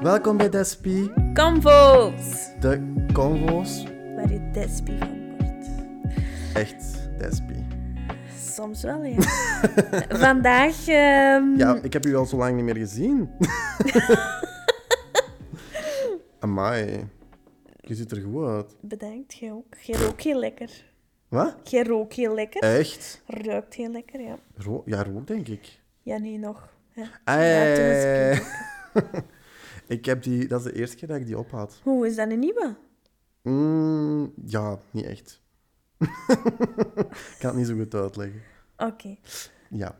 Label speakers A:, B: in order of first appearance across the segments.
A: Welkom bij Despi,
B: Convo's!
A: de convo's.
B: Waar je despi van wordt.
A: Echt Despi.
B: Soms wel, ja. Vandaag... ehm,
A: Ja, ik heb u al zo lang niet meer gezien. Amai, je ziet er goed uit.
B: Bedankt, jij ook. Jij rookt heel lekker.
A: Wat?
B: Jij rookt heel lekker.
A: Echt?
B: Ruikt heel lekker, ja.
A: Ro ja, rook denk ik.
B: Ja, nu nog. hè.
A: Ah,
B: Ja, toen was ik-
A: Ai. ik heb die, dat is de eerste keer dat ik die op had.
B: Hoe is dat een nieuwe?
A: Mm, ja, niet echt. ik kan het niet zo goed uitleggen.
B: Oké.
A: Ja,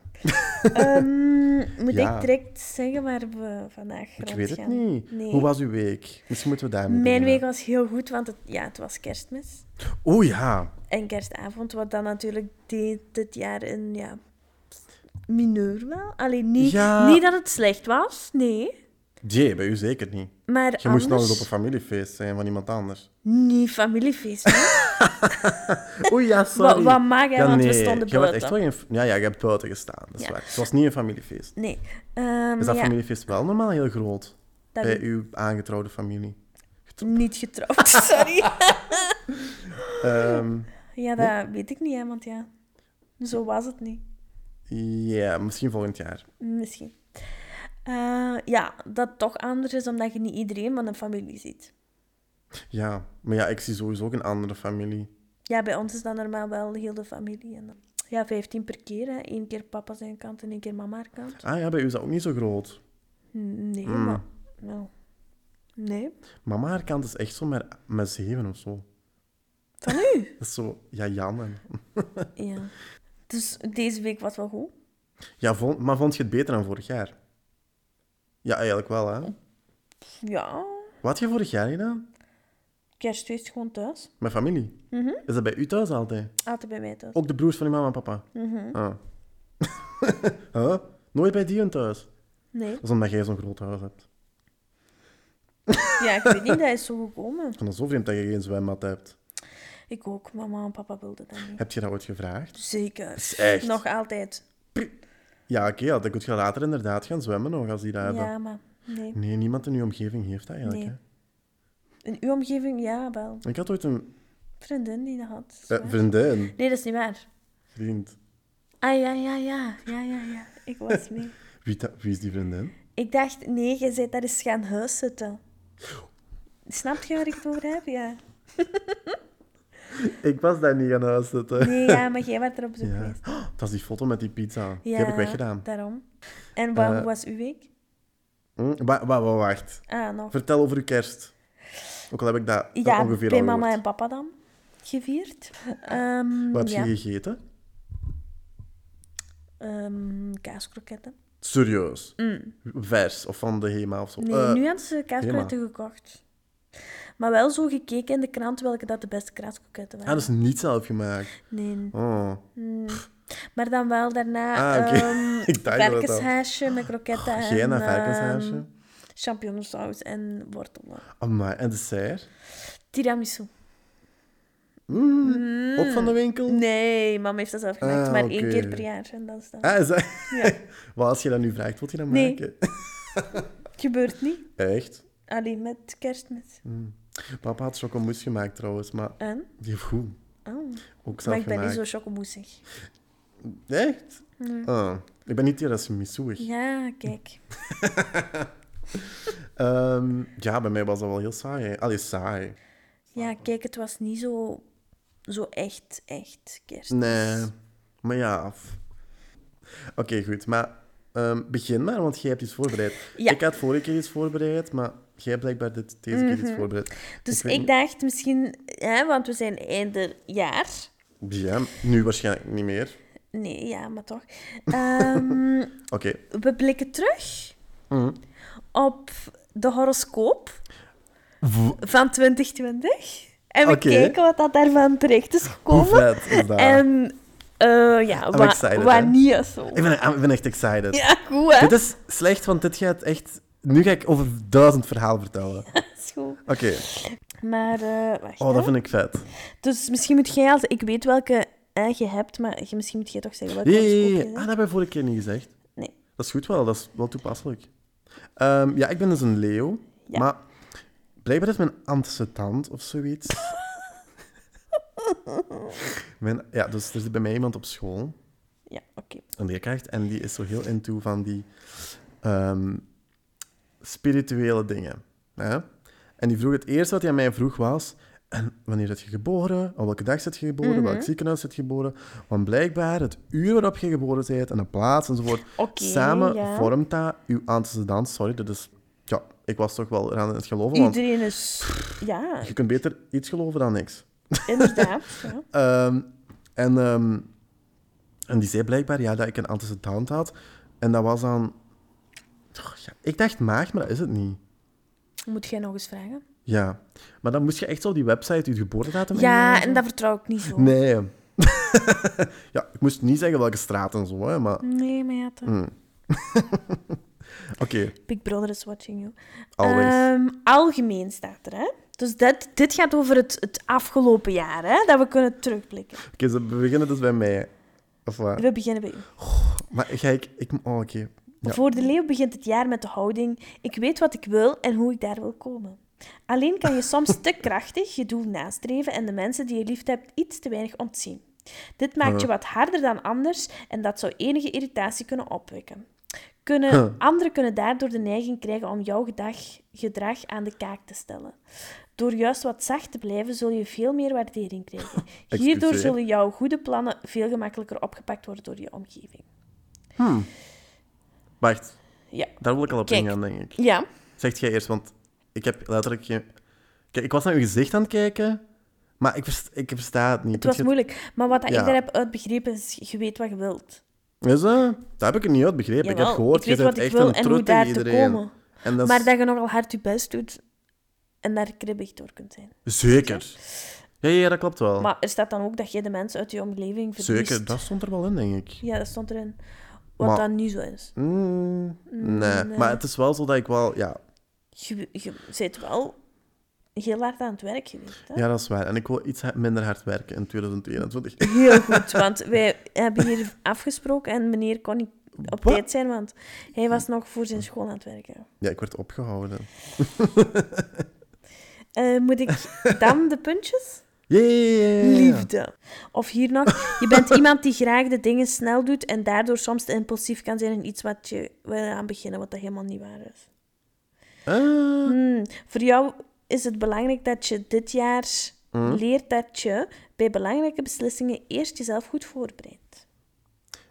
B: Ehm, moet
A: Ja.
B: ik direct zeggen waar we vandaag rond
A: ik weet het
B: gaan?
A: niet.
B: Nee.
A: Hoe was uw week? Misschien moeten we daarmee
B: Mijn
A: beginnen.
B: week was heel goed, want het, ja, het was kerstmis.
A: Oeh ja,
B: En kerstavond, wat dan natuurlijk deed dit jaar een ja, mineur wel. Alleen niet,
A: Ja.
B: niet dat het slecht was, nee.
A: die bij u zeker niet.
B: Maar
A: Je
B: anders,
A: moest nog eens op een familiefeest zijn van iemand anders.
B: niet familiefeest. hè.
A: Oei ja, sorry.
B: Wat- wat maak jij, want we
A: nee,
B: stonden
A: je wordt
B: buiten.
A: echt wel geen... Ja, ja, je hebt buiten gestaan, dat is
B: Ja.
A: waar. Het was niet een familiefeest.
B: Nee. Ehm,
A: Is dat
B: ja,
A: familiefeest wel normaal heel groot?
B: dat
A: bij
B: ik
A: uw aangetrouwde familie.
B: niet getrouwd, sorry.
A: Ehm,
B: ja, dat weet ik niet, hè, want ja, zo was het niet.
A: Ja, misschien volgend jaar.
B: Misschien. Eh, ja, dat toch anders is omdat je niet iedereen van een familie ziet.
A: Ja, maar ja, ik zie sowieso ook een andere familie.
B: Ja, bij ons is dat normaal wel heel de familie. En dan, ja, 15 per keer. Hè. Eén keer papa zijn kant en één keer mama haar kant.
A: Ah ja, bij u is dat ook niet zo groot.
B: Nee,
A: Mm.
B: maar... Nou, nee.
A: Mama haar kant is echt zo met, met zeven of zo.
B: Van u?
A: Dat is zo, ja, Jan. en-
B: ja. Dus deze week was wel goed.
A: Ja, vond, maar vond je het beter dan vorig jaar? Ja, eigenlijk wel, hè?
B: Ja,
A: Wat had je vorig jaar gedaan?
B: kerstfeest gewoon thuis.
A: Met familie?
B: Mhm.
A: Is dat bij u thuis altijd?
B: Altijd bij mij thuis.
A: Ook de broers van je mama en papa?
B: Mhm.
A: Ah. huh? Nooit bij die hun thuis?
B: Nee.
A: Dat is omdat jij zo'n groot huis hebt.
B: Ja, ik weet niet, dat is zo gekomen.
A: Ik vind het zo vreemd dat je geen zwembad hebt.
B: Ik ook. Mama en papa wilden dat niet.
A: Heb je dat ooit gevraagd?
B: Zeker.
A: is echt.
B: Nog altijd.
A: Ja, oké, ja, dan kun je later inderdaad gaan zwemmen nog als die dat hebben.
B: Ja, maar nee.
A: Nee, niemand in uw omgeving heeft dat eigenlijk.
B: Nee. In uw omgeving, ja, wel.
A: Hè? Ik had ooit een
B: Vriendin die dat had. dat is
A: eh,
B: waar.
A: vriendin,
B: Nee, dat is niet waar.
A: vriend.
B: Ah, ja, ja, ja. Ja, ja, ja. Ik was mee.
A: Wie, dat- wie is die vriendin?
B: ik dacht, nee, je bent daar eens gaan huis zitten. Snap je waar ik het over heb? Ja.
A: Ik was daar niet aan huis zitten.
B: Nee, ja, maar jij werd er op zoek
A: Ja.
B: geweest.
A: Oh, dat is die foto met die pizza. die
B: Ja,
A: heb ik weggedaan.
B: daarom. En wat
A: Eh.
B: was uw week?
A: Hm? Wa- wa- wa- wacht.
B: Ah, nog.
A: Vertel over uw kerst. Ook al heb ik dat
B: Ja,
A: ongeveer
B: bij
A: al
B: mama en
A: gehoord.
B: papa dan gevierd. Ehm,
A: Wat
B: ja.
A: heb je gegeten?
B: Ehm, kaaskroketten.
A: Serieus? Vers of van de Hema of zo?
B: Mm. Nee,
A: Eh,
B: nu hadden ze kaaskroketten gekocht. Maar wel zo gekeken in de krant welke dat de beste kaaskroketten
A: Ah, dat
B: waren.
A: is niet zelf gemaakt.
B: Nee,
A: Oh.
B: Maar dan wel daarna
A: Ah, oké.
B: ehm,
A: Ik dacht dat het al-
B: varkenshaasje met kroketten
A: Oh,
B: en
A: jij naar varkenshaasje?
B: ehm, champignonsaus en wortelen.
A: Amai, en dessert?
B: Tiramisu.
A: Mm.
B: Mm.
A: Ook van de winkel?
B: Nee, mama heeft dat zelf gemaakt,
A: Ah,
B: maar
A: oké.
B: één keer per jaar. En dat is dat.
A: Ah, is dat...
B: Ja.
A: Wat als je dat nu vraagt, wat je dat
B: Nee.
A: maken?
B: Gebeurt niet.
A: Echt?
B: Alleen met kerstmis.
A: Papa had chocomousse gemaakt trouwens, maar
B: En?
A: die heeft goed.
B: Oh.
A: Ook zelf
B: Maar ik ben niet
A: gemaakt.
B: zo chocomoesig.
A: Echt? Ah, ik ben niet tiramisu-ig.
B: Ja, kijk.
A: Ehm, ja, bij mij was dat wel heel saai. hè. Allee, saai.
B: Ja, kijk, het was niet zo, zo echt, echt kerst.
A: Nee. Maar ja. f- Oké, goed. Maar ehm, begin maar, want jij hebt iets voorbereid.
B: Ja.
A: Ik had vorige keer iets voorbereid, maar jij hebt blijkbaar dit, deze keer iets voorbereid.
B: Dus
A: weet
B: ik,
A: niet-
B: dacht misschien, hè, want we zijn einde jaar.
A: Ja, nu waarschijnlijk niet meer.
B: Nee, ja, maar toch. Ehm,
A: Oké.
B: we blikken terug
A: Mm.
B: op de horoscoop van 2020. En we
A: Oké.
B: kijken wat dat daarvan terecht is
A: Hoe
B: gekomen.
A: vet is dat?
B: En eh, ja,
A: I'm
B: wa-
A: excited,
B: wat
A: hè?
B: niet is zo.
A: Ik, ben, ah, ik ben echt excited.
B: Ja, goed hè?
A: Dit is slecht, want dit gaat echt... Nu ga ik over duizend verhaal vertellen. Oké.
B: Dat is goed. Maar, eh, wacht
A: Oh,
B: hè.
A: dat vind ik vet.
B: Dus misschien moet jij als... Ik weet welke hè, je hebt, maar je, misschien moet jij toch zeggen welke
A: Ja, ja, ja, ja.
B: horoscoop
A: Ah,
B: je
A: dat
B: hebt.
A: hebben we vorige keer niet gezegd.
B: Nee.
A: Dat is goed wel, dat is wel toepasselijk. Ehm, ja, ik ben dus een leeuw.
B: Ja.
A: Maar blijkbaar is mijn antecedant of zoiets. mijn, ja, dus er zit bij mij iemand op school,
B: Ja, oké.
A: een leerkracht, en die is zo heel into van die ehm, spirituele dingen. Hè? En die vroeg het eerste wat hij aan mij vroeg was... En wanneer zit je geboren? Op welke dag zit je geboren?
B: Mhm.
A: Welk ziekenhuis zit je geboren? Want blijkbaar, het uur waarop je geboren bent en de plaats enzovoort,
B: Oké,
A: samen
B: ja.
A: vormt dat uw antecedent. Sorry, dat is... Ja, ik was toch wel aan het geloven, want
B: Iedereen is... Ja,
A: je kunt beter iets geloven dan niks.
B: inderdaad. ja.
A: Ehm, en, ehm, en die zei blijkbaar ja, dat ik een antecedent had. En dat was dan... Goh, ja, ik dacht maag, maar dat is het niet.
B: Moet jij nog eens vragen?
A: Ja. Maar dan moest je echt zo op die website je geboortedatum
B: Ja,
A: ingeven.
B: en dat vertrouw ik niet zo.
A: Nee. ja, ik moest niet zeggen welke straat en zo, hè, maar...
B: Nee, maar ja,
A: Mm.
B: toch.
A: Oké,
B: Big Brother is watching you.
A: always.
B: Ehm, algemeen staat er, hè. Dus dat, dit gaat over het, het afgelopen jaar, hè. Dat we kunnen terugblikken.
A: Oké, ze beginnen dus bij mij. Of wat?
B: We beginnen bij u.
A: Maar ga ik... ik oh, oké. Ja.
B: Voor de leeuw begint het jaar met de houding: ik weet wat ik wil en hoe ik daar wil komen. Alleen kan je soms te krachtig je doel nastreven en de mensen die je lief hebt iets te weinig ontzien. Dit maakt je wat harder dan anders en dat zou enige irritatie kunnen opwekken. Kunnen,
A: Huh.
B: Anderen kunnen daardoor de neiging krijgen om jouw gedag, gedrag aan de kaak te stellen. Door juist wat zacht te blijven, zul je veel meer waardering krijgen. Hierdoor
A: Excuseer.
B: zullen jouw goede plannen veel gemakkelijker opgepakt worden door je omgeving.
A: Wacht,
B: Ja.
A: daar wil ik al op
B: Kijk.
A: ingaan, denk ik.
B: Ja.
A: Zegt jij eerst, want ik heb letterlijk geen... Kijk, ik was naar uw gezicht aan het kijken, maar ik, verst- ik versta het niet.
B: Het was moeilijk. Maar wat dat
A: Ja.
B: ik daar heb uitbegrepen is, je weet wat je wilt.
A: Is dat? Dat heb ik niet uit begrepen. ik
B: Jawel,
A: heb gehoord,
B: ik weet
A: je bent
B: wat ik
A: echt
B: wil
A: een
B: en hoe
A: trut tegen
B: daar te
A: iedereen.
B: komen.
A: En dat is...
B: Maar dat je nogal hard je best doet en daar kribbig door kunt zijn.
A: Zeker. Ja, ja, ja, dat klopt wel.
B: Maar er staat dan ook dat je de mensen uit je omgeving verliest.
A: Zeker, dat stond er wel in, denk ik.
B: Ja, dat stond erin. Wat
A: Maar-
B: dan niet zo is.
A: Mm, nee.
B: nee.
A: maar het is wel zo dat ik wel... Ja,
B: Je, je bent wel heel hard aan het werk geweest. Hè?
A: ja dat is waar. En ik wil iets ha- minder hard werken in 2021.
B: Heel goed, want wij hebben hier afgesproken en meneer kon niet op
A: Wat?
B: tijd zijn, want hij was nog voor zijn school aan het werken.
A: Ja, ik werd opgehouden.
B: Eh, moet ik dan de puntjes?
A: Yeah!
B: Liefde. Of hier nog, je bent iemand die graag de dingen snel doet en daardoor soms te impulsief kan zijn in iets wat je wil aan beginnen, wat dat helemaal niet waar is.
A: Ah,
B: Hmm, Voor jou is het belangrijk dat je dit jaar
A: Hmm?
B: leert dat je bij belangrijke beslissingen eerst jezelf goed voorbereidt.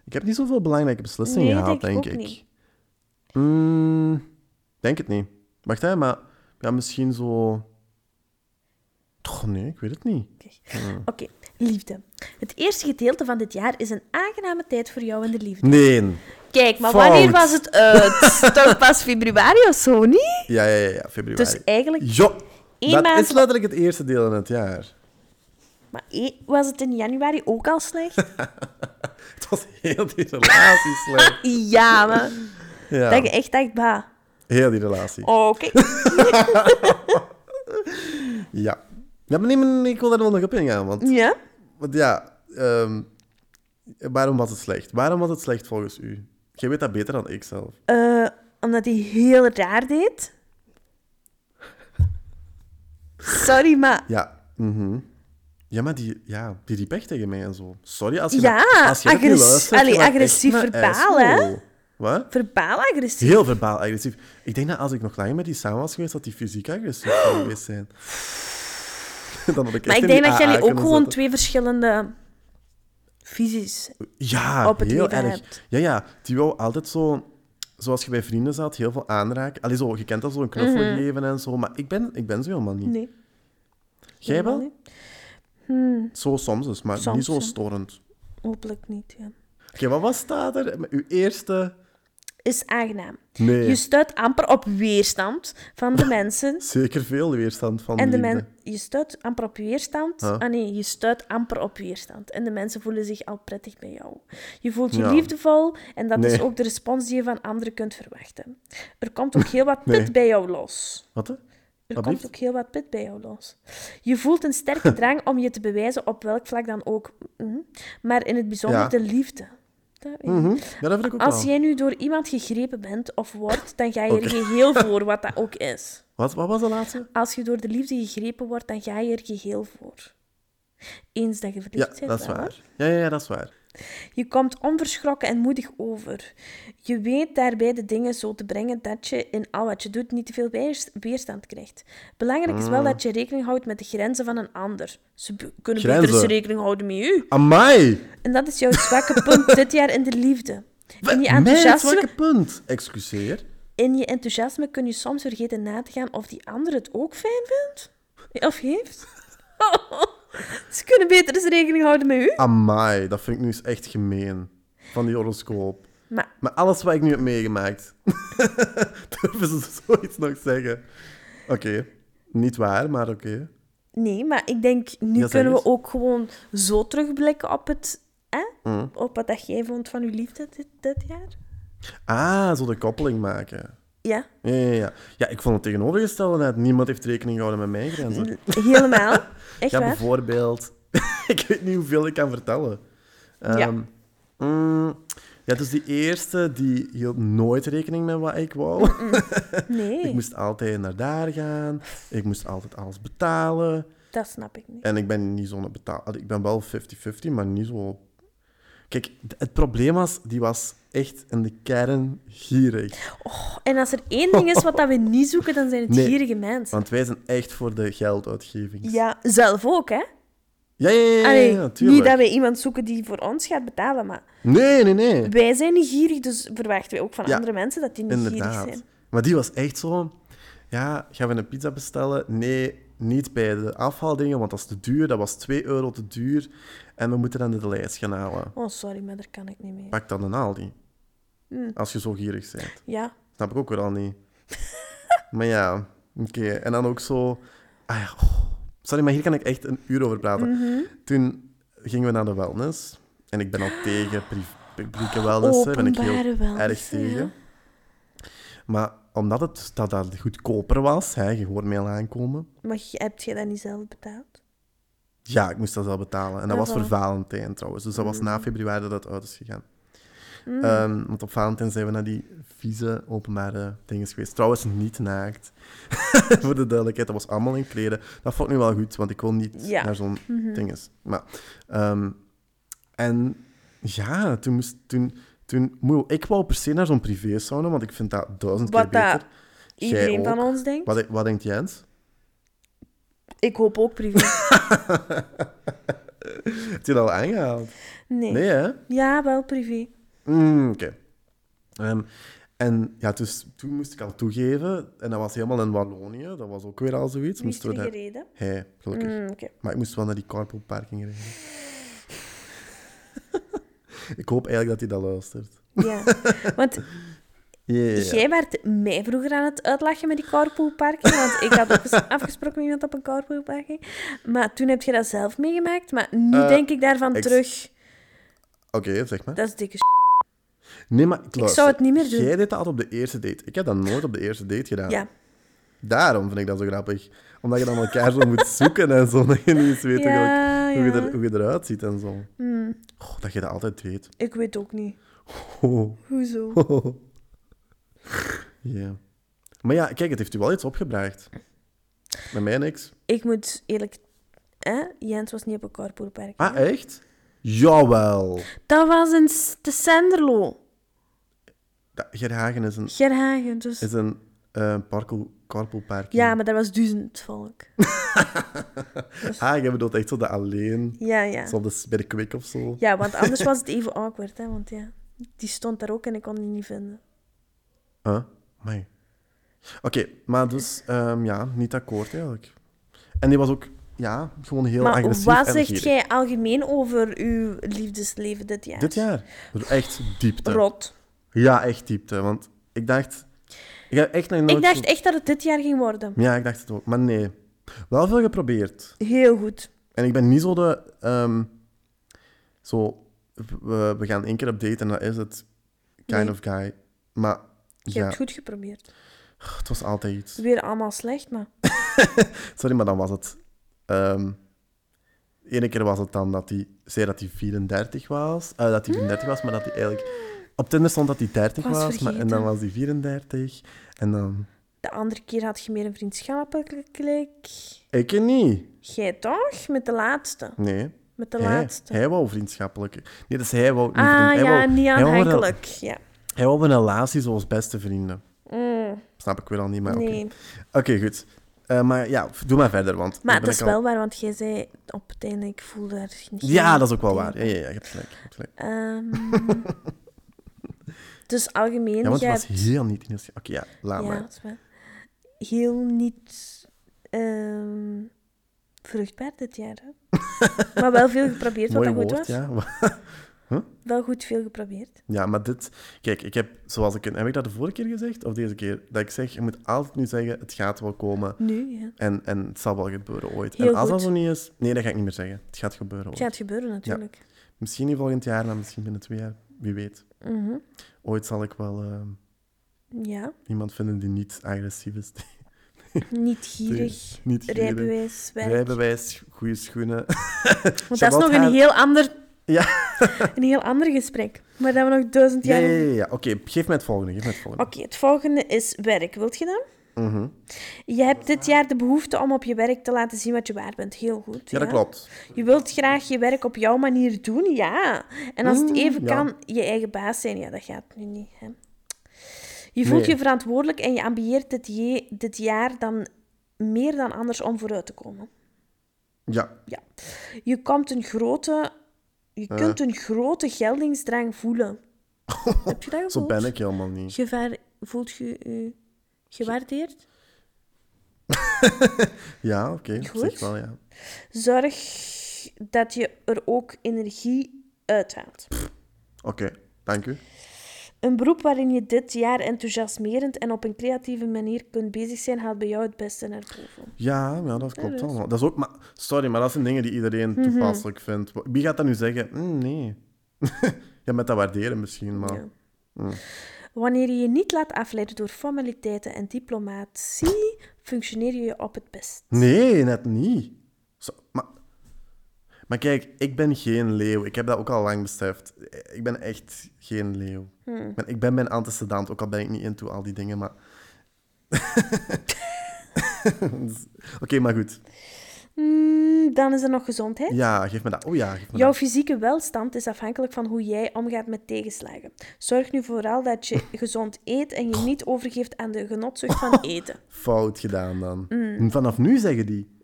A: ik heb niet zoveel belangrijke beslissingen
B: Nee,
A: gehaald,
B: denk ik
A: denk,
B: ook
A: ik.
B: niet.
A: Mm, denk het niet. Wacht, hè, maar... Ja, misschien zo... Toch, nee, ik weet het niet. Hmm.
B: Oké, liefde. Het eerste gedeelte van dit jaar is een aangename tijd voor jou in de liefde.
A: Nee.
B: Kijk, maar
A: Fout.
B: wanneer was het uit? Toch pas februari of zo, niet?
A: Ja, ja, ja, ja februari.
B: Dus eigenlijk
A: Jo,
B: één
A: dat
B: maand-
A: is letterlijk het eerste deel in het jaar.
B: maar eh, was het in januari ook al slecht?
A: Het was heel die relatie slecht.
B: Ja, maar
A: Oh. Ja,
B: dat je echt denkt, bah,
A: heel die relatie.
B: oké.
A: Ja. Ja, maar nee, maar nee, ik wil daar wel nog op ingaan, want...
B: Ja?
A: Want ja, ehm, waarom was het slecht? Waarom was het slecht volgens u? Jij weet dat beter dan ik zelf.
B: Eh, omdat hij heel raar deed. Sorry, maar...
A: Ja, mhm. ja maar die, ja, die riep echt tegen mij en zo. Sorry als je
B: Ja,
A: dat- als je dat niet
B: agres-
A: luistert. je
B: allee,
A: maakt echt
B: agressief
A: een
B: verbaal,
A: ijsvogel. Wat?
B: Verbaal agressief.
A: Heel verbaal agressief. Ik denk dat als ik nog langer met die samen was geweest, dat die fysiek agressief zou geweest zijn. Dan had Ah, ik
B: Oh.
A: echt
B: Maar ik
A: in
B: denk
A: die
B: dat jullie
A: AA
B: ook
A: kunnen
B: gewoon
A: zetten.
B: twee verschillende visies...
A: Ja,
B: op het
A: heel
B: leven
A: erg.
B: hebt.
A: Ja, ja, die wou altijd zo, zoals je bij vrienden zat, heel veel aanraken. Allee, zo, je kent dat zo, een knuffel geven en zo. Maar ik ben, ik ben zo helemaal niet.
B: Mhm. Nee.
A: Jij
B: helemaal
A: wel?
B: niet.
A: Zo soms dus, maar
B: Soms,
A: niet zo
B: ja.
A: storend.
B: Hopelijk niet, ja.
A: Oké, wat was staat er? Met Uw eerste...
B: Is aangenaam.
A: Nee,
B: Je stuit amper op weerstand van de mensen.
A: zeker veel weerstand van
B: En de
A: liefde.
B: men, je stuit amper op weerstand.
A: Huh?
B: Ah nee, je stuit amper op weerstand. En de mensen voelen zich al prettig bij jou. Je voelt je
A: Ja.
B: liefdevol en dat is
A: Nee.
B: ook de respons die je van anderen kunt verwachten. Er komt ook heel wat pit
A: Nee.
B: bij jou los.
A: Wat? hè?
B: Er
A: Wat
B: komt
A: blieft?
B: ook heel wat pit bij jou los. Je voelt een sterke drang om je te bewijzen op welk vlak dan ook, Mhm. maar in het bijzonder
A: Ja.
B: de liefde. Dat weet ik.
A: Mhm. Ja, dat vind ik ook
B: Als
A: wel.
B: jij nu door iemand gegrepen bent of wordt, dan ga je
A: Oké.
B: er geheel voor, wat dat ook is.
A: Wat, wat was de laatste?
B: Als je door de liefde gegrepen wordt, dan ga je er geheel voor. Eens dat je
A: Ja,
B: verliefd bent,
A: dat is
B: wel,
A: waar. Ja, ja, ja, dat is waar.
B: Je komt onverschrokken en moedig over. Je weet daarbij de dingen zo te brengen dat je in al wat je doet niet te veel weers- weerstand krijgt. Belangrijk is
A: Mm.
B: wel dat je rekening houdt met de grenzen van een ander. Ze be- kunnen beter
A: Grenzen?
B: eens rekening houden met u.
A: Amai!
B: En dat is jouw zwakke punt dit jaar in de liefde. In je,
A: Mijn
B: enthousiasme,
A: zwakke punt. Excuseer.
B: in je enthousiasme kun je soms vergeten na te gaan of die ander het ook fijn vindt. Of heeft. Ze kunnen beter eens rekening houden met u.
A: Amai, dat vind ik nu eens echt gemeen. Van die horoscoop.
B: Maar
A: Maar alles wat ik nu heb meegemaakt, durven ze zoiets nog zeggen. Oké, niet waar, maar oké.
B: Nee, maar ik denk, nu
A: Ja, zeg
B: kunnen we
A: eens.
B: ook gewoon zo terugblikken op het... Hè?
A: Mm.
B: Op wat dat jij vond van uw liefde dit, dit jaar.
A: Ah, zo de koppeling maken.
B: Ja,
A: Ja, ja, ja. ja, ik vond het tegenovergestelde net. Niemand heeft rekening gehouden met mijn grenzen.
B: helemaal. Echt
A: ja,
B: waar.
A: bijvoorbeeld. ik weet niet hoeveel ik kan vertellen.
B: Ja.
A: Ehm, mm, ja, dus die eerste, die hield nooit rekening met wat ik wou.
B: Nee,
A: Ik moest altijd naar daar gaan. Ik moest altijd alles betalen.
B: dat snap ik niet.
A: En ik ben niet zo'n betaal... Allee, Ik ben wel 50-50, maar niet zo... Kijk, d- het probleem was, die was echt in de kern gierig.
B: En als er één ding is wat dat we niet zoeken, dan zijn het
A: Nee.
B: gierige mensen.
A: Want wij zijn echt voor de gelduitgeving.
B: Ja, zelf ook, hè?
A: ja, ja, ja, ja,
B: Allee,
A: ja,
B: niet
A: tuurlijk.
B: dat we iemand zoeken die voor ons gaat betalen, maar
A: Nee, nee, nee.
B: wij zijn niet gierig, dus verwachten we ook van
A: Ja,
B: andere mensen dat die niet
A: Inderdaad.
B: gierig zijn.
A: Maar die was echt zo... Ja, gaan we een pizza bestellen? Nee, niet bij de afhaaldingen, want dat is te duur. Dat was 2 euro te duur. En we moeten dan de lijst gaan halen.
B: Oh, sorry, maar daar kan ik niet mee.
A: Pak dan een Aldi. Als je zo gierig bent.
B: Ja,
A: Snap ik ook wel niet. maar ja, oké. En dan ook zo... Ah ja, oh. Sorry, maar hier kan ik echt een uur over praten. Toen gingen we naar de wellness. En ik ben al tegen pri- publieke wellness. hè. eh, Ben ik heel
B: Openbare wellness,
A: erg tegen.
B: ja.
A: Maar omdat het dat, dat goedkoper was, hè, je hoort mij al aankomen.
B: maar je- hebt jij dat niet zelf betaald?
A: Ja, ik moest dat wel betalen. En dat
B: Ah, Mm.
A: was voor
B: voilà.
A: Valentijn trouwens. Dus dat was na februari dat dat uit is gegaan.
B: Mm.
A: Ehm, want op Valentijn zijn we naar die vieze openbare dingen geweest. Trouwens, niet naakt. voor de duidelijkheid, dat was allemaal in kleden. Dat vond ik nu wel goed, want ik wil niet
B: Ja. Mhm.
A: naar zo'n dinges. Maar, ehm, en ja, toen moest... Toen, toen, moe, ik wou per se naar zo'n privé sauna, want ik vind dat duizend
B: Wat
A: keer
B: dat
A: beter. Jij
B: Iedereen van
A: ook.
B: ons denkt.
A: Wat, wat denkt Jens?
B: Ik hoop ook privé.
A: Heb je dat al aangehaald?
B: Nee.
A: Nee, hè?
B: Ja, wel privé.
A: Mm, Oké. Ehm, en ja, dus toen moest ik al toegeven, en dat was helemaal in Wallonië, dat was ook weer al zoiets.
B: Wie is
A: Moesten
B: er
A: we naar...
B: gereden?
A: Hey, gelukkig.
B: Mm, Oké.
A: Maar ik moest wel naar die carpoolparking rijden. ik hoop eigenlijk dat hij dat luistert.
B: Ja. Want
A: Yeah.
B: jij werd mij vroeger aan het uitlachen met die carpoolparking. Want ik had ook eens afgesproken met iemand op een carpoolparking. Maar toen heb je dat zelf meegemaakt. Maar nu
A: Eh,
B: denk ik daarvan
A: ex-
B: terug.
A: Oké, zeg maar.
B: Dat is dikke s***.
A: Nee, maar luister,
B: zou het niet meer doen.
A: Jij deed dat altijd op de eerste date. Ik heb dat nooit op de eerste date gedaan.
B: Ja.
A: Daarom vind ik dat zo grappig. Omdat je dan elkaar zo moet zoeken en zo. Dat je niet eens weet
B: Ja,
A: eigenlijk hoe, je
B: ja. Mm.
A: er, hoe je eruit ziet en zo. Goh, dat je dat altijd weet.
B: Ik weet ook niet.
A: Oh.
B: Hoezo?
A: Ja. Maar ja, kijk, het heeft u wel iets opgebracht. Met mij niks.
B: Ik moet eerlijk... Hè? Jens was niet op een carpoolparking.
A: Ah, echt? Jawel.
B: Dat was in S- de Senderlo.
A: Da- Gerhagen is een,
B: Gerhagen, dus...
A: is een eh parkel, carpoolparking.
B: Ja, maar daar was duizend volk.
A: Ah, je bedoelt echt zo de alleen.
B: Ja, ja.
A: Zo op de, bij de kwik of zo.
B: Ja, want anders was het even awkward, hè? Want ja, die stond daar ook en ik kon die niet vinden.
A: Huh? Amai. Oké, maar dus ehm, ja, niet akkoord eigenlijk. En die was ook ja, gewoon heel
B: maar
A: agressief.
B: wat
A: en
B: zegt
A: gierig.
B: jij algemeen over uw liefdesleven dit jaar?
A: Dit jaar? Echt diepte.
B: Rot.
A: Ja, echt diepte. Want ik dacht... Ik heb echt nog nooit
B: Ik
A: zo-
B: dacht echt dat het dit jaar ging worden.
A: Ja, ik dacht het ook. Maar nee. Wel veel geprobeerd.
B: Heel goed.
A: En ik ben niet zo de... ehm, zo, we, we gaan één keer op date en dat is het. Kind
B: Nee.
A: of guy. Maar
B: Je
A: ja,
B: hebt het goed geprobeerd.
A: het was altijd iets.
B: Weer allemaal slecht, maar
A: Sorry, maar dan was het. Ehm, ene keer was het dan dat hij zei dat hij 34 was, eh, dat hij 34 was, maar dat hij eigenlijk... Op Tinder stond dat hij 30
B: Was
A: was, maar, en dan
B: vergeten.
A: was hij 34. En dan...
B: De andere keer had je meer een vriendschappelijk klik.
A: Ik niet.
B: Jij toch? Met de laatste.
A: Nee.
B: Met de
A: Hij,
B: laatste.
A: hij wou vriendschappelijk. Nee, dus hij wou niet
B: ah
A: vriend- hij
B: ja,
A: wou,
B: niet
A: hij wou een-
B: aanhankelijk. Ja.
A: Hij wou een relatie zoals beste vrienden.
B: Mm,
A: Snap ik wel al niet, maar oké.
B: nee.
A: Oké, goed. Eh, maar ja, f- doe maar verder, want...
B: Maar
A: dan ben
B: dat is
A: ik al-
B: wel waar, want jij zei op het einde, ik voel daar geen...
A: Ja, dat is ook wel waar. Ja, ja, ja, je hebt gelijk. Je hebt gelijk.
B: Ehm, dus algemeen,
A: Ja, want
B: jij
A: het was
B: hebt-
A: heel niet in Oké, ja, laat
B: ja,
A: maar.
B: dat is waar. heel niet ehm, vruchtbaar dit jaar. Hè? maar wel veel geprobeerd, wat
A: Mooi
B: dat goed
A: woord,
B: was.
A: ja.
B: Wel goed veel geprobeerd.
A: Ja, maar dit... Kijk, ik heb, zoals ik... Heb ik dat de vorige keer gezegd? Of deze keer? Dat ik zeg, je moet altijd nu zeggen, het gaat wel komen.
B: Nu, ja.
A: En, en het zal wel gebeuren ooit.
B: Heel
A: en als dat
B: goed.
A: zo niet is... Nee, dat ga ik niet meer zeggen. Het gaat gebeuren ooit.
B: Het gaat gebeuren natuurlijk.
A: Misschien niet volgend jaar, maar misschien binnen twee jaar. Wie weet.
B: Mhm. Ja.
A: Ooit zal ik wel eh, iemand vinden die niet agressief is.
B: niet gierig.
A: niet gierig.
B: Rijbewijs, werk.
A: Rijbewijs, goede schoenen.
B: Want dat is
A: Charlotte
B: nog een
A: haar-
B: heel ander...
A: Ja.
B: een heel ander gesprek. Maar dat we nog duizend
A: Ja,
B: jaar...
A: ja, ja. ja. Oké, geef mij het volgende. Geef mij het volgende.
B: Oké, het volgende is werk. Wilt je dat?
A: Mhm.
B: Je hebt dit jaar de behoefte om op je werk te laten zien wat je waard bent. Heel goed.
A: Ja, dat klopt.
B: Je wilt graag je werk op jouw manier doen, ja. En als het
A: Mm,
B: even
A: ja.
B: kan, je eigen baas zijn. Ja, dat gaat nu niet. Hè. Je voelt
A: Nee.
B: je verantwoordelijk en je ambieert dit, je- dit jaar dan meer dan anders om vooruit te komen.
A: Ja.
B: Je, komt een grote, je
A: Eh.
B: kunt een grote geldingsdrang voelen. Heb je dat gevoeld?
A: Zo ben ik helemaal niet.
B: Je ver- voelt je je gewaardeerd?
A: Ja, oké. op
B: Goed.
A: zich wel, ja.
B: Zorg dat je er ook energie uithaalt.
A: Oké, dank u.
B: Een beroep waarin je dit jaar enthousiasmerend en op een creatieve manier kunt bezig zijn, haalt bij jou het beste naar boven.
A: Ja, ja, dat klopt
B: dat is-
A: allemaal. Dat is ook, maar, sorry, maar dat zijn dingen die iedereen
B: Mhm.
A: toepasselijk vindt. Wie gaat dat nu zeggen? Mm, nee. ja, met dat waarderen misschien, maar...
B: Ja. Wanneer je je niet laat afleiden door formaliteiten en diplomatie, functioneer je op het best.
A: Nee, net niet. Zo, maar, maar kijk, ik ben geen leeuw. Ik heb dat ook al lang beseft. Ik ben echt geen leeuw. Ik, ben, ik ben mijn antecedent, ook al ben ik niet into al die dingen, maar... Dus- Oké, maar goed.
B: Hmm, dan is er nog gezondheid.
A: Ja, geef me dat. Oh ja, geef me
B: Jouw
A: dat.
B: fysieke welstand is afhankelijk van hoe jij omgaat met tegenslagen. Zorg nu vooral dat je gezond eet en je niet overgeeft aan de genotzucht van eten.
A: Fout gedaan dan. Vanaf nu zeggen die.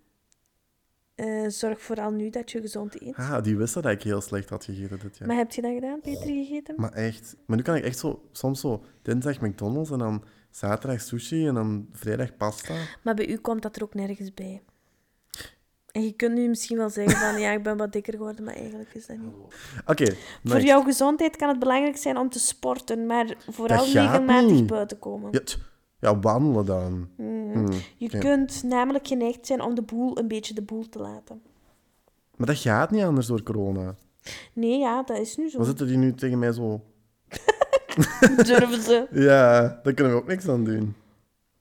B: Eh, zorg vooral nu dat je gezond eet.
A: Ah, die wisten dat ik heel slecht had gegeten dit jaar.
B: Maar heb je dat gedaan, Peter, gegeten?
A: Maar echt. Maar nu kan ik echt zo, soms zo dinsdag McDonald's en dan zaterdag sushi en dan vrijdag pasta.
B: Maar bij u komt dat er ook nergens bij. En je kunt nu misschien wel zeggen van ja, ik ben wat dikker geworden, maar eigenlijk is dat niet.
A: Oké,
B: Voor
A: next.
B: jouw gezondheid kan het belangrijk zijn om te sporten, maar vooral
A: Dat gaat
B: regelmatig
A: niet.
B: buiten komen.
A: Ja, tch. ja, wandelen dan.
B: Je kunt namelijk geneigd zijn om de boel een beetje de boel te laten.
A: Maar dat gaat niet anders door corona.
B: Nee, ja, dat is nu zo.
A: Dan zitten die nu tegen mij zo...
B: Durven ze.
A: Ja, daar kunnen we ook niks aan doen.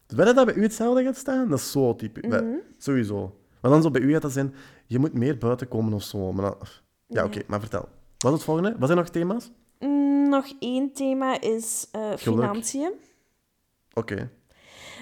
A: Dus weet je dat bij u hetzelfde gaat staan? Dat is zo typisch. Wij-
B: Mhm.
A: Sowieso. Maar dan zo bij u gaat dat zijn, je moet meer buiten komen of zo. Maar dan- Ja, oké, maar vertel. Wat is het volgende? Wat zijn nog thema's?
B: Mm, Nog één thema is eh, financiën.
A: Oké.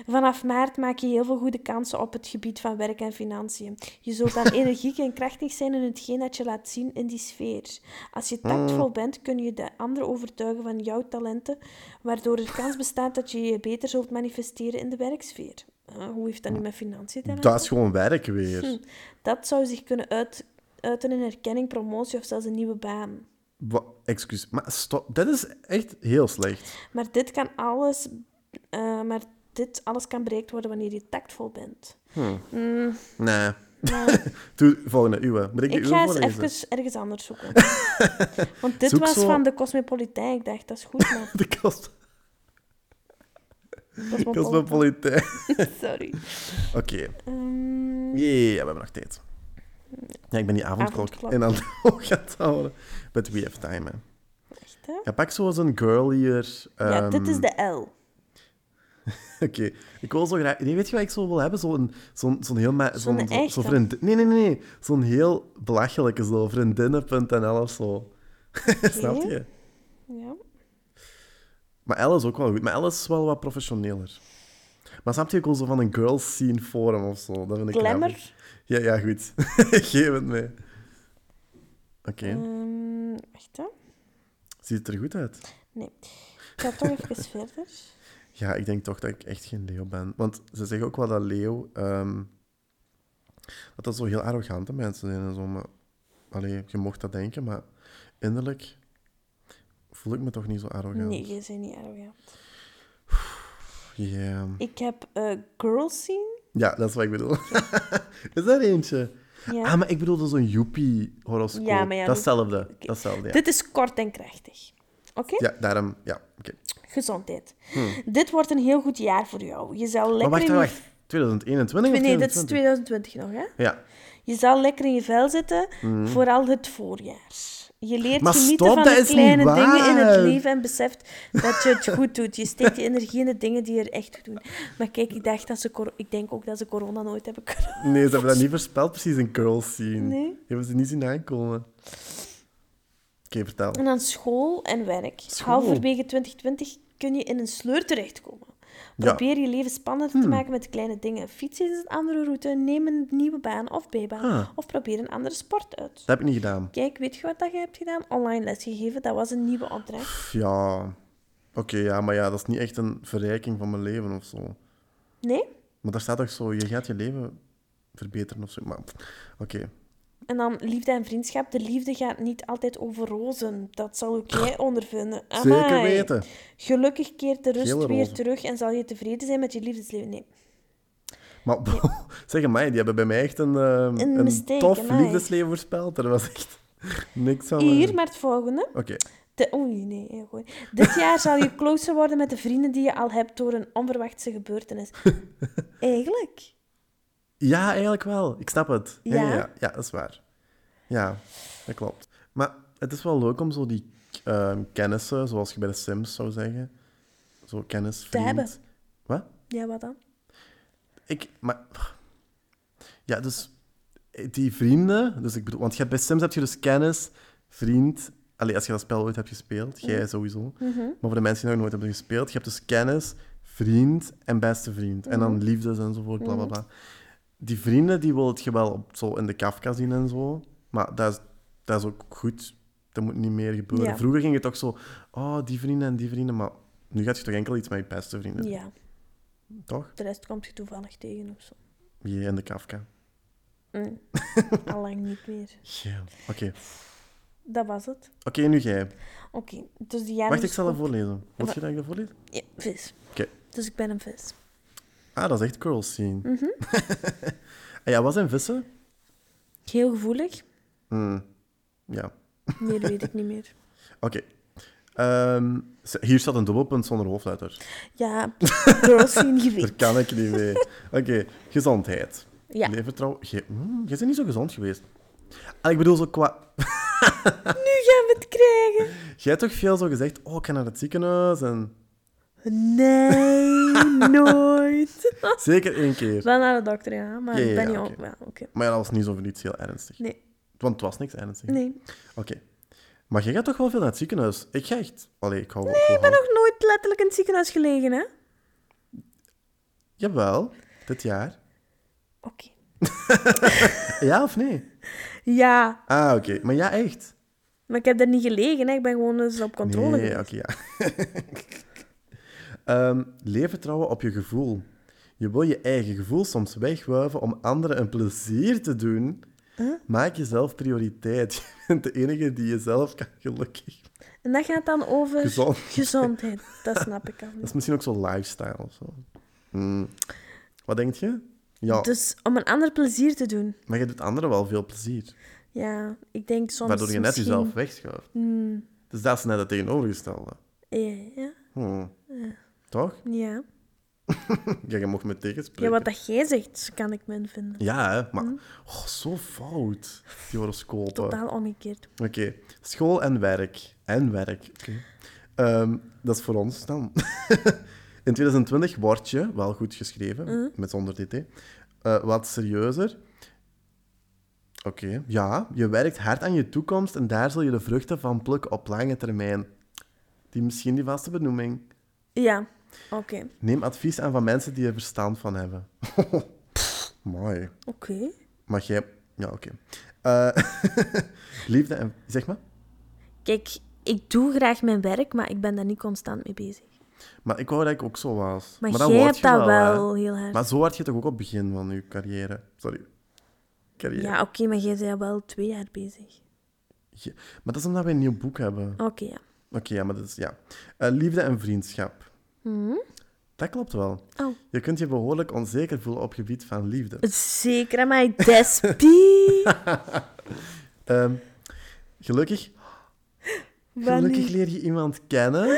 B: Vanaf maart maak je heel veel goede kansen op het gebied van werk en financiën. Je zult dan energiek en krachtig zijn in hetgeen dat je laat zien in die sfeer. Als je tactvol bent, kun je de anderen overtuigen van jouw talenten, waardoor er kans bestaat dat je je beter zult manifesteren in de werksfeer. Huh, hoe heeft dat nu met financiën te maken?
A: Dat is gewoon werk weer.
B: Hm. Dat zou zich kunnen uit, uiten in erkenning, promotie of zelfs een nieuwe baan.
A: Wa- Excuus. Maar stop. Dat is echt heel slecht.
B: Maar dit kan alles, eh, maar dit alles kan bereikt worden wanneer je tactvol bent.
A: Nee.
B: Maar-
A: Doe volgende, uwe. Moet ik de
B: Ik
A: uwe
B: ga eens
A: voorlezen?
B: even ergens anders zoeken. Want dit
A: Zoek
B: was
A: zo-
B: van de Cosmopolitan. Ik dacht, dat is goed, maar
A: De kost...
B: Cosmopolitan,
A: Cosmopolitan.
B: sorry.
A: Oké.
B: Ehm,
A: Jee, ja, we hebben nog tijd. Ja, ik ben die avondklok
B: Avondklok.
A: in aan het oog aan het houden. But we have time, hè.
B: echt, hè?
A: Ja, pak zo eens een girlier...
B: Ja,
A: ehm,
B: dit is de L.
A: Oké, ik wil zo graag... Nee, weet je wat ik zo wil hebben? Zo'n zo'n zo'n heel... ma- Zo'n
B: Zo'n
A: zo, zo
B: echte.
A: vriend- Nee, nee, nee. nee. Zo'n heel belachelijke, zo. Vriendinnen.nl of zo. Snap je?
B: Ja.
A: Maar Elle is ook wel goed. Maar Elle is wel wat professioneler. Maar snap je ook wel zo van een girls scene forum of zo? Dat vind ik
B: Glamour.
A: grappig. Ja, ja, goed. Geef het mee. Oké, Mm.
B: Ehm, wacht, hè.
A: ziet het er goed uit?
B: Ik ga toch even verder.
A: Ja, ik denk toch dat ik echt geen leeuw ben. Want ze zeggen ook wel dat leeuw... ehm, dat dat zo heel arrogante mensen zijn en zo. Maar, allee, je mocht dat denken, maar innerlijk voel ik me toch niet zo arrogant.
B: Nee, je bent niet arrogant.
A: Ja.
B: Ik heb eh Girl Scene.
A: Ja, dat is wat ik bedoel. is dat eentje?
B: Ja.
A: Ah, maar ik bedoelde zo'n joepie-horoscoop.
B: Ja, maar ja, dat-
A: Datzelfde,
B: Oké.
A: datzelfde, ja.
B: Dit is kort en krachtig. Oké?
A: Ja, daarom, ja, oké.
B: Gezondheid. Dit wordt een heel goed jaar voor jou. Je zal lekker
A: Hmm. Maar Oh, wacht,
B: in je...
A: wacht, wacht. 2021 of
B: Nee, dit is
A: 2022?
B: 2020 nog, hè?
A: Ja.
B: Je zal lekker in je vel zitten, vooral het voorjaar. Je leert
A: Hmm. Maar
B: genieten
A: stop,
B: van
A: dat
B: de
A: is niet
B: kleine dingen in het
A: waar.
B: leven en beseft dat je het goed doet. Je steekt je energie in de dingen die er echt toe doen. Maar kijk, ik, dacht dat ze cor- ik denk ook dat ze corona nooit hebben kunnen.
A: Nee, ze hebben dat niet voorspeld, precies, een curl scene.
B: Nee.
A: Hebben ze niet zien aankomen. Oké, vertel.
B: En dan school en werk.
A: School.
B: Halverwege 2020 kun je in een sleur terechtkomen.
A: Ja. Hmm.
B: Probeer je leven spannender te maken met kleine dingen. Fiets eens een andere route, neem een nieuwe baan of bijbaan.
A: Ah.
B: Of probeer een andere sport uit.
A: Dat heb ik niet gedaan.
B: Kijk, weet je wat dat je hebt gedaan? Online lesgegeven, dat was een nieuwe opdracht.
A: Pff, ja, oké, ja, maar ja, dat is niet echt een verrijking van mijn leven of zo.
B: Nee?
A: Maar daar staat toch zo, je gaat je leven verbeteren of zo. Maar pff, oké,
B: En dan liefde en vriendschap. De liefde gaat niet altijd over rozen. Dat zal ook jij ondervinden.
A: Ah, zeker
B: Amai.
A: weten.
B: Gelukkig keert de rust
A: Gele
B: weer
A: rozen.
B: terug en zal je tevreden zijn met je liefdesleven. Nee.
A: Maar zeg mij, die hebben bij mij echt een, ehm,
B: Een mistake,
A: tof
B: amai.
A: liefdesleven voorspeld. Er was echt niks aan.
B: Hier, maar het volgende.
A: Oké,
B: De... Oei, nee. heel goed. Dit jaar zal je closer worden met de vrienden die je al hebt door een onverwachte gebeurtenis. Eigenlijk.
A: ja, eigenlijk wel. Ik snap het. Ja,
B: Ja?
A: ja, ja, ja, dat is waar. Ja, dat klopt. Maar het is wel leuk om zo die ehm, kennissen, zoals je bij de Sims zou zeggen, zo kennis, vriend.
B: hebben.
A: Wat?
B: Ja, wat dan?
A: Ik, maar... Ja, dus die vrienden... Dus ik bedoel, want je, hebt bij Sims heb je dus kennis, vriend... Allee, als je dat spel ooit hebt gespeeld, jij sowieso.
B: Mhm.
A: Maar voor de mensen die nog nooit hebben gespeeld, je hebt dus kennis, vriend en beste vriend. En
B: Mhm.
A: dan liefdes enzovoort, bla bla bla. Die vrienden, die wil je wel op, zo in de Kafka zien en zo. Maar dat is, dat is ook goed. Dat moet niet meer gebeuren.
B: Ja.
A: Vroeger ging je toch zo... Oh, die vrienden en die vrienden. Maar nu gaat je toch enkel iets met je beste vrienden,
B: Ja,
A: toch?
B: de rest komt je toevallig tegen of zo.
A: Je en de Kafka.
B: Mm. Allang niet meer.
A: Ja, oké.
B: Dat was het.
A: Oké, nu jij.
B: Oké, dus de jaren...
A: Wacht, ik zal dat voorlezen. Wil je dat ik dat voorlees?
B: Ja, vis.
A: Oké.
B: Dus ik ben een vis.
A: Ah, dat is echt curl scene.
B: Mhm.
A: Ah ja, wat zijn vissen?
B: Heel gevoelig.
A: Hmm, Ja,
B: Meer weet ik niet meer.
A: oké. Ehm, z- hier staat een dubbelpunt zonder hoofdletter.
B: Ja, girls zien
A: Daar
B: gewicht.
A: kan ik niet mee. Oké, gezondheid.
B: Ja.
A: Levertrouw. Je, hmm, je bent niet zo gezond geweest. Ah, ik bedoel, zo qua...
B: Nu gaan we het krijgen.
A: Jij hebt toch veel zo gezegd, oh, ik ga naar het ziekenhuis en...
B: Nee, nooit.
A: Zeker één keer.
B: Wel naar de dokter, ja. Maar
A: Ja, ja,
B: ik ben
A: ja,
B: niet
A: oké.
B: op. Ja, oké.
A: Maar ja, dat was niet zo voor iets heel ernstig.
B: Nee,
A: Want het was niks ernstig.
B: nee.
A: Oké. Maar jij gaat toch wel veel naar het ziekenhuis? Ik ga echt... Allee, ik hou...
B: Nee, ik ben nog nooit letterlijk in het ziekenhuis gelegen, hè.
A: Jawel, dit jaar.
B: Oké.
A: Ja of nee?
B: Ja,
A: Ah, oké. Maar ja, echt.
B: maar ik heb daar niet gelegen, hè. Ik ben gewoon eens op controle
A: nee,
B: geweest.
A: oké, ja. Ehm, leef vertrouwen op je gevoel. Je wil je eigen gevoel soms wegwuiven om anderen een plezier te doen. Maak jezelf prioriteit. Je bent de enige die jezelf kan gelukkig.
B: En dat gaat dan over
A: Gezond.
B: gezondheid. Dat snap ik al.
A: Dat is misschien ook zo'n lifestyle of zo. Hmm. Wat denk je? Ja,
B: Dus om een ander plezier te doen.
A: maar je doet anderen wel veel plezier.
B: Ja, ik denk soms
A: Waardoor je net
B: misschien... Hmm.
A: jezelf wegschuift. Dus dat is net het tegenovergestelde.
B: Ja, ja.
A: Hmm. Toch?
B: ja.
A: Ja, je mocht me
B: Ja,
A: tegenspreken.
B: wat dat jij zegt, kan ik me vinden.
A: Ja, hè, maar... Oh, zo fout. Die horoscopen.
B: Totaal omgekeerd.
A: Oké. School en werk. En werk. Oké. Ehm, dat is voor ons dan. In 2020 word je, wel goed geschreven,
B: Hmm.
A: met zonder dt, eh, wat serieuzer. Oké, ja, je werkt hard aan je toekomst en daar zul je de vruchten van plukken op lange termijn. Die misschien die vaste benoeming.
B: Ja, oké.
A: Neem advies aan van mensen die er verstand van hebben. Mooi.
B: Oké.
A: Maar jij... Ja, oké. Eh, liefde en... Zeg maar.
B: Kijk, ik doe graag mijn werk, maar ik ben daar niet constant mee bezig.
A: Maar ik wou dat ik ook zo was.
B: Maar,
A: dan
B: jij
A: word
B: hebt
A: je
B: dat
A: hè.
B: wel heel hard.
A: Maar zo had je toch ook op het begin van je carrière. Sorry. Carrière.
B: Ja, oké, maar jij bent al wel twee jaar bezig.
A: Je- Maar dat is omdat we een nieuw boek hebben. Oké,
B: Oké, ja.
A: ja, maar dat is... Ja. Eh, liefde en vriendschap.
B: Mhm.
A: Dat klopt wel.
B: Oh.
A: Je kunt je behoorlijk onzeker voelen op gebied van liefde.
B: Zeker, maar despie.
A: Ehm, gelukkig, gelukkig
B: Wanneer-
A: leer je iemand kennen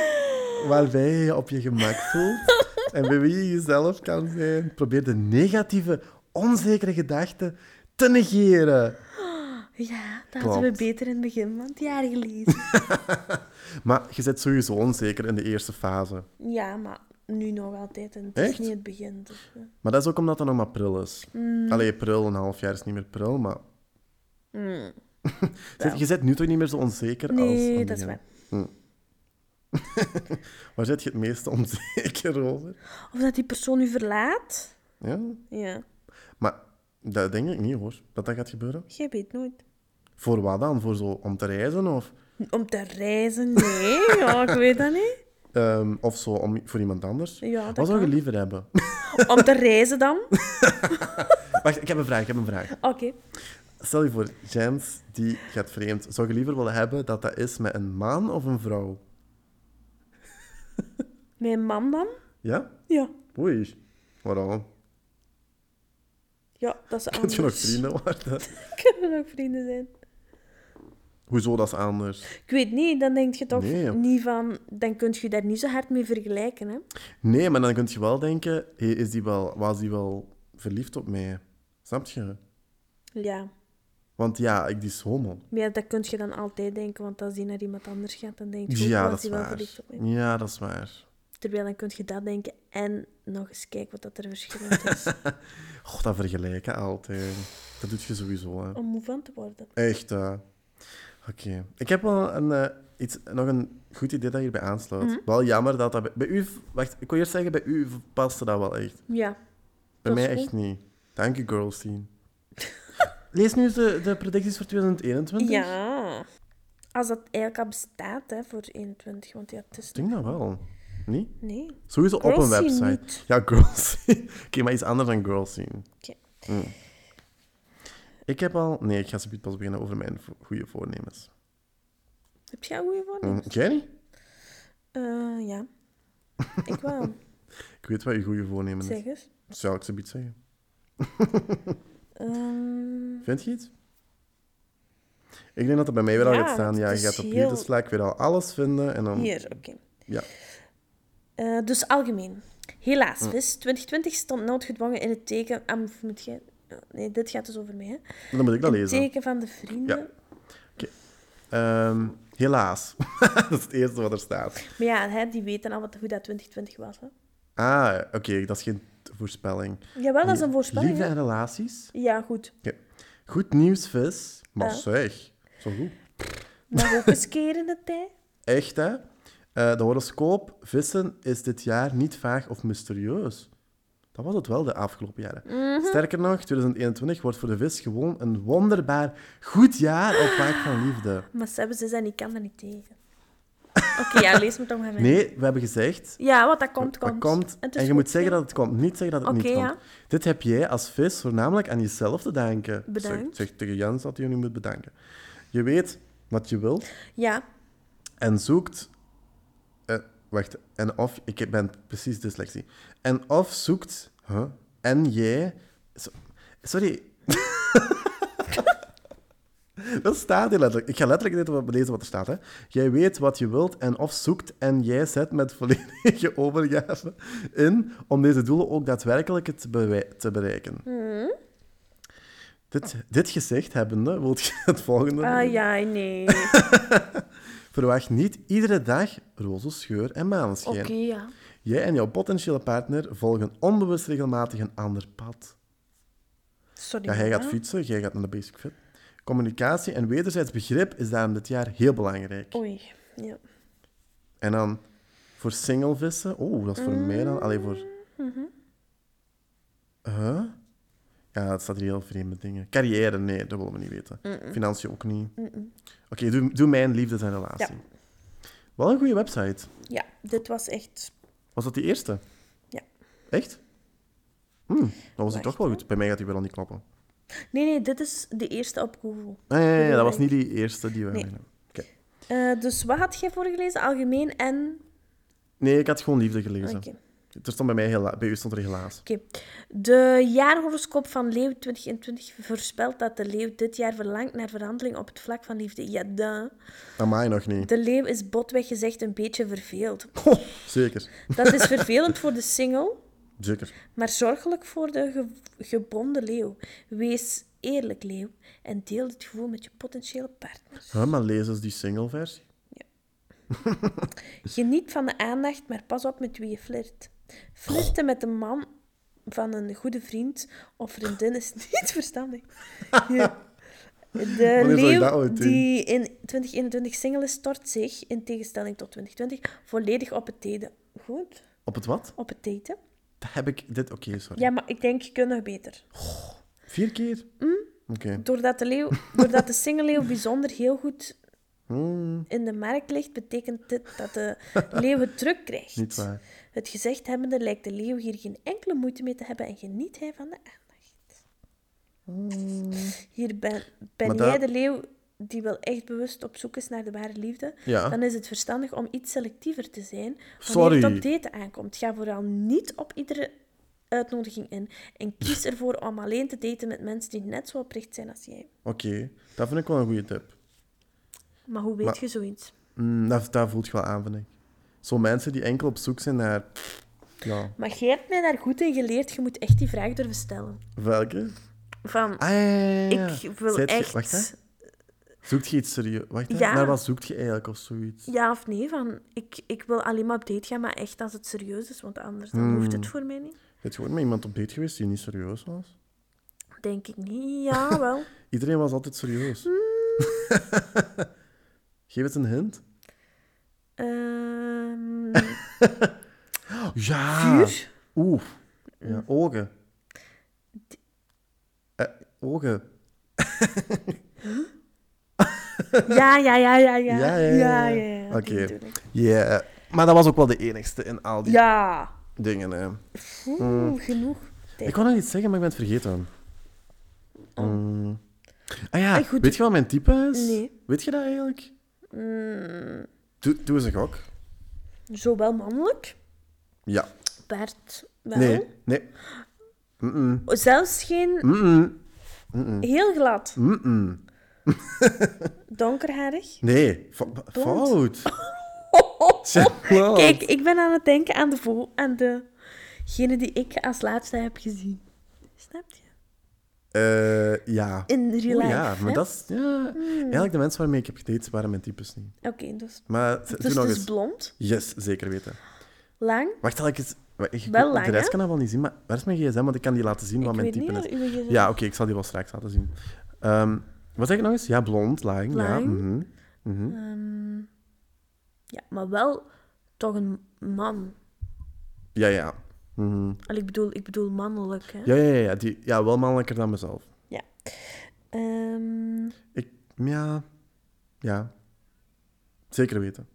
A: waarbij je je op je gemak voelt en bij wie je jezelf kan zijn. Probeer de negatieve, onzekere gedachten te negeren.
B: Ja, dat
A: Klopt.
B: hadden we beter in het begin van het jaar gelezen.
A: Maar je bent sowieso onzeker in de eerste fase.
B: ja, maar nu nog altijd. En het is
A: Echt?
B: niet het begin. dus, eh.
A: Maar dat is ook omdat dat nog maar pril is.
B: Mm.
A: Allee, pril, een half jaar is niet meer pril, maar... Zet- je bent nu toch niet meer zo onzeker als... aan
B: Mm. Nee,
A: het
B: dat is
A: begin?
B: waar.
A: Waar zit je het meeste onzeker over?
B: Of dat die persoon u verlaat.
A: Ja?
B: Ja,
A: Maar dat denk ik niet, hoor. Dat dat gaat gebeuren.
B: jij weet nooit.
A: Voor wat dan? Voor zo om te reizen of...
B: Om te reizen? Nee, ja, ik weet dat niet.
A: ehm, of zo om, voor iemand anders?
B: Ja, dat
A: wat zou je
B: kan.
A: liever hebben?
B: Om te reizen dan? Oké.
A: Wacht, ik heb een vraag, ik heb een vraag. Stel je voor, Jens, die gaat vreemd. Zou je liever willen hebben dat dat is met een man of een vrouw?
B: Mijn man dan?
A: Ja?
B: Ja.
A: Oei. Waarom?
B: Ja, dat is
A: Kunt
B: anders.
A: je nog vrienden worden?
B: Kunnen nog vrienden zijn.
A: Hoezo, dat is anders?
B: Ik weet niet, dan denk je toch
A: Nee.
B: niet van... Dan kun je daar niet zo hard mee vergelijken, hè.
A: Nee, maar dan kun je wel denken, hé, is die wel, was die wel verliefd op mij? Snap je?
B: Ja.
A: Want ja, ik die is homo.
B: Maar ja, dat kun je dan altijd denken, want als die naar iemand anders gaat, dan denk je... ook,
A: Ja,
B: was
A: dat is
B: die wel
A: waar.
B: verliefd op mij?
A: Ja, dat is waar.
B: Terwijl dan kun je dat denken en nog eens kijken wat dat er verschillend is.
A: God, dat vergelijken altijd. Dat doet je sowieso, hè.
B: om moe van te worden.
A: Echt, hè. Oké. Ik heb wel een, eh, iets, nog een goed idee dat hierbij aansluit.
B: Mhm.
A: Wel jammer dat dat... Bij, bij u... v- Wacht, ik wil eerst zeggen, bij u v- paste dat wel echt.
B: Ja.
A: Bij
B: Dat is
A: mij
B: goed.
A: echt niet. Dank je, girls team. Lees nu eens de, de predicties voor 2021.
B: Ja. Als dat eigenlijk al bestaat, hè, voor 21. Want ja, het is...
A: Ik denk dat wel. Niet?
B: Nee.
A: Sowieso op een
B: Girls zien
A: website.
B: niet.
A: Ja, girls zien. Oké, maar iets anders dan girls zien.
B: Oké.
A: Mm. Ik heb al... Nee, ik ga zo pas beginnen over mijn vo- goede voornemens.
B: Heb jij goede voornemens?
A: Mm, Jij niet?
B: Eh, ja. Ik wel.
A: Ik weet wat je goede voornemen is.
B: zeg eens.
A: Zou ik ze iets zeggen?
B: Ehm,
A: Vind je iets? Ik denk dat het bij mij weer al
B: Ja,
A: gaat staan.
B: want
A: Ja,
B: het
A: je gaat
B: is
A: op
B: heel-
A: hier de slack weer al alles vinden. En dan...
B: hier, oké.
A: Ja.
B: Eh, dus algemeen. Helaas, vis. 2020 stond noodgedwongen in het teken... Ah, of moet jij... Nee, dit gaat dus over mij, hè.
A: Dan moet ik dat
B: In het
A: lezen.
B: teken van de vrienden.
A: Ja. Ehm, helaas. dat is het eerste wat er staat.
B: Maar ja, hè, die weten al wat, hoe dat 2020 was, hè.
A: Ah, oké. dat is geen voorspelling.
B: Jawel, dat is een voorspelling,
A: Liefde
B: hè.
A: en relaties.
B: Ja, goed.
A: Goed nieuws, vis. Maar
B: Ja.
A: zeg, zo goed.
B: Maar ook eens keer in de tijd.
A: Echt, hè? Eh, de horoscoop vissen is dit jaar niet vaag of mysterieus. Dat was het wel de afgelopen jaren.
B: Mhm.
A: Sterker nog, 2021 wordt voor de vis gewoon een wonderbaar goed jaar op vlak van liefde.
B: Maar ze hebben ze zijn, ik kan dat niet tegen. Oké, ja, lees me toch maar mee.
A: Nee, we hebben gezegd...
B: Ja, wat dat komt,
A: dat
B: komt.
A: komt.
B: Het
A: En
B: is
A: je
B: goed,
A: moet zeggen
B: ja.
A: dat het komt, niet zeggen dat het
B: Oké,
A: niet komt.
B: ja.
A: Dit heb jij als vis voornamelijk aan jezelf te danken.
B: Bedankt.
A: Zeg, zeg tegen Jens dat hij je nu moet bedanken. Je weet wat je wilt
B: Ja,
A: en zoekt. eh, wacht, en of. Ik ben precies dyslexie. En of zoekt. Huh? En jij. so- sorry. Dat staat hier letterlijk. Ik ga letterlijk dit- lezen wat er staat. Hè. Jij weet wat je wilt en of zoekt en jij zet met volledige overgave in om deze doelen ook daadwerkelijk te, bewei- te bereiken. Dit, dit gezegd hebbende, wilt je het volgende?
B: ah ja, nee.
A: Verwacht niet iedere dag roze scheur en maanschijn.
B: Oké, ja.
A: Jij en jouw potentiële partner volgen onbewust regelmatig een ander pad.
B: Sorry.
A: Ja, hij
B: mama.
A: gaat fietsen, jij gaat naar de basic fit. Communicatie en wederzijds begrip is daarom dit jaar heel belangrijk.
B: Oei. Ja.
A: En dan voor singlevissen. Oh, dat is voor mij dan. Alleen voor. Huh? Ja, het staat hier heel vreemde dingen. Carrière, nee, dat willen we niet weten. Financiën ook niet. Oké, doe, doe mijn liefdes en relatie. Wel een goede website.
B: ja, dit was echt...
A: Was dat die eerste?
B: Ja.
A: Echt? Hm, dat was die
B: Wacht,
A: toch wel goed. Bij mij gaat die wel niet kloppen.
B: Nee, nee, dit is de eerste op Google.
A: Ah, ja, ja, ja,
B: Bedoel
A: dat was
B: ik.
A: niet die eerste die we
B: Nee.
A: hadden. Oké.
B: Eh, dus wat had jij voorgelezen? Algemeen en...
A: Nee, ik had gewoon liefde gelezen.
B: Oké.
A: Er stond bij mij hela- bij u stond er helaas.
B: Oké. De jaarhoroscoop van Leeuw 2021 voorspelt dat de Leeuw dit jaar verlangt naar verandering op het vlak van liefde. Ja, duh.
A: Amai, nog niet.
B: De Leeuw is botweg gezegd een beetje verveeld.
A: Zeker.
B: Dat is vervelend voor de single,
A: Zeker.
B: maar zorgelijk voor de ge- gebonden Leeuw. Wees eerlijk, Leeuw, en deel dit gevoel met je potentiële partner.
A: Huh, maar lezen ze die single-versie?
B: Geniet van de aandacht, maar pas op met wie je flirt. Flirten met een man van een goede vriend of vriendin is niet verstandig. Ja. De
A: Wanneer zou ik dat
B: leeuw
A: ooit doen?
B: die in 2021 single is, stort zich, in tegenstelling tot 2020, volledig op het daten. Goed,
A: Op het wat?
B: op het daten.
A: Dat heb ik dit... Oké, sorry.
B: Ja, maar ik denk, je kunt nog beter.
A: Vier keer?
B: Mm.
A: Oké.
B: Doordat de, leeuw, doordat de single-leeuw bijzonder heel goed
A: Hmm.
B: in de markt ligt, betekent dit dat de leeuw het druk krijgt.
A: Niet waar.
B: Het gezegd hebbende lijkt de leeuw hier geen enkele moeite mee te hebben en geniet hij van de aandacht. Hier ben, ben
A: Hmm. Maar
B: jij
A: dat-
B: de leeuw die wel echt bewust op zoek is naar de ware liefde,
A: Ja.
B: dan is het verstandig om iets selectiever te zijn wanneer
A: Sorry.
B: het op daten aankomt. Ga vooral niet op iedere uitnodiging in en kies ervoor om alleen te daten met mensen die net zo oprecht zijn als jij.
A: Oké. Dat vind ik wel een goede tip.
B: Maar hoe weet
A: Maar-
B: je zoiets?
A: Mm, dat, dat voelt je wel aan, vind ik. Zo mensen die enkel op zoek zijn naar... Ja.
B: Maar jij hebt mij daar goed in geleerd. Je moet echt die vraag durven stellen.
A: Welke?
B: Van,
A: Ah, ja, ja, ja, ja.
B: ik wil
A: Zijt je-
B: echt...
A: Wacht, hè. Zoekt je iets serieus? Wacht, hè.
B: Ja.
A: Naar wat zoekt je eigenlijk of zoiets?
B: Ja of nee, van ik, ik wil alleen maar op date gaan, maar echt als het serieus is, want anders dan hoeft
A: Hmm.
B: het voor mij niet.
A: Je bent gewoon met iemand op date geweest die niet serieus was?
B: Denk ik niet. Ja, wel.
A: Iedereen was altijd serieus.
B: Hmm.
A: Geef het een hint.
B: Ehm,
A: Oh, Ja!
B: vuur? Hmm.
A: Oeh. Ja, ogen. Eh, ogen.
B: Ja, ja, ja, ja, ja.
A: Ja, ja, ja, ja.
B: ja, die
A: Oké.
B: bedoel ik.
A: Ja. Maar dat was ook wel de enigste in al die
B: Ja.
A: dingen. Hè.
B: Oeh,
A: Hmm.
B: genoeg. tijd.
A: Ik wou nog iets zeggen, maar ik ben het vergeten. Mm. Ah ja,
B: Eh, Oh. goed.
A: weet je wat mijn type is?
B: Nee. Mm.
A: Weet je dat eigenlijk? Doe, doe eens een gok.
B: Zowel mannelijk,
A: Ja.
B: Bert wel.
A: Nee. Nee. Mm-mm.
B: Zelfs geen
A: Mm-mm.
B: heel glad,
A: Mm-mm. Oh.
B: donkerharig.
A: Nee. Fo- fout. Tja, klopt.
B: Kijk, ik ben aan het denken aan de vo aan degene die ik als laatste heb gezien. Snap je?
A: Eh, ja.
B: In real
A: Oeh,
B: life.
A: ja, maar
B: hè? Hmm.
A: dat is... Ja. Eigenlijk de mensen waarmee ik heb gedate waren mijn types niet.
B: Oké, dus,
A: Maar z-
B: dus
A: doe
B: het
A: nog
B: is
A: eens.
B: blond,
A: Yes, zeker weten.
B: lang.
A: Wacht, zal ik eens... wa- Ik,
B: Wel
A: de
B: lang,
A: rest
B: hè?
A: kan dat wel niet zien, maar waar is mijn gsm? Want ik kan die laten zien wat
B: ik
A: mijn
B: weet
A: type
B: niet
A: is.
B: wat uw gezin
A: Ja, oké, ik zal die wel straks laten zien. Ehm, wat zeg ik nog eens? Ja, blond, lang. Ja,
B: Lang.
A: mhm.
B: Ehm, ja, maar wel toch een man.
A: ja. Ja. Mhm.
B: Al, ik, bedoel, ik bedoel mannelijk. Hè?
A: ja, ja, ja. ja, Die, ja, wel mannelijker dan mezelf.
B: Ehm,
A: Ik... Ja. Ja. Zeker weten.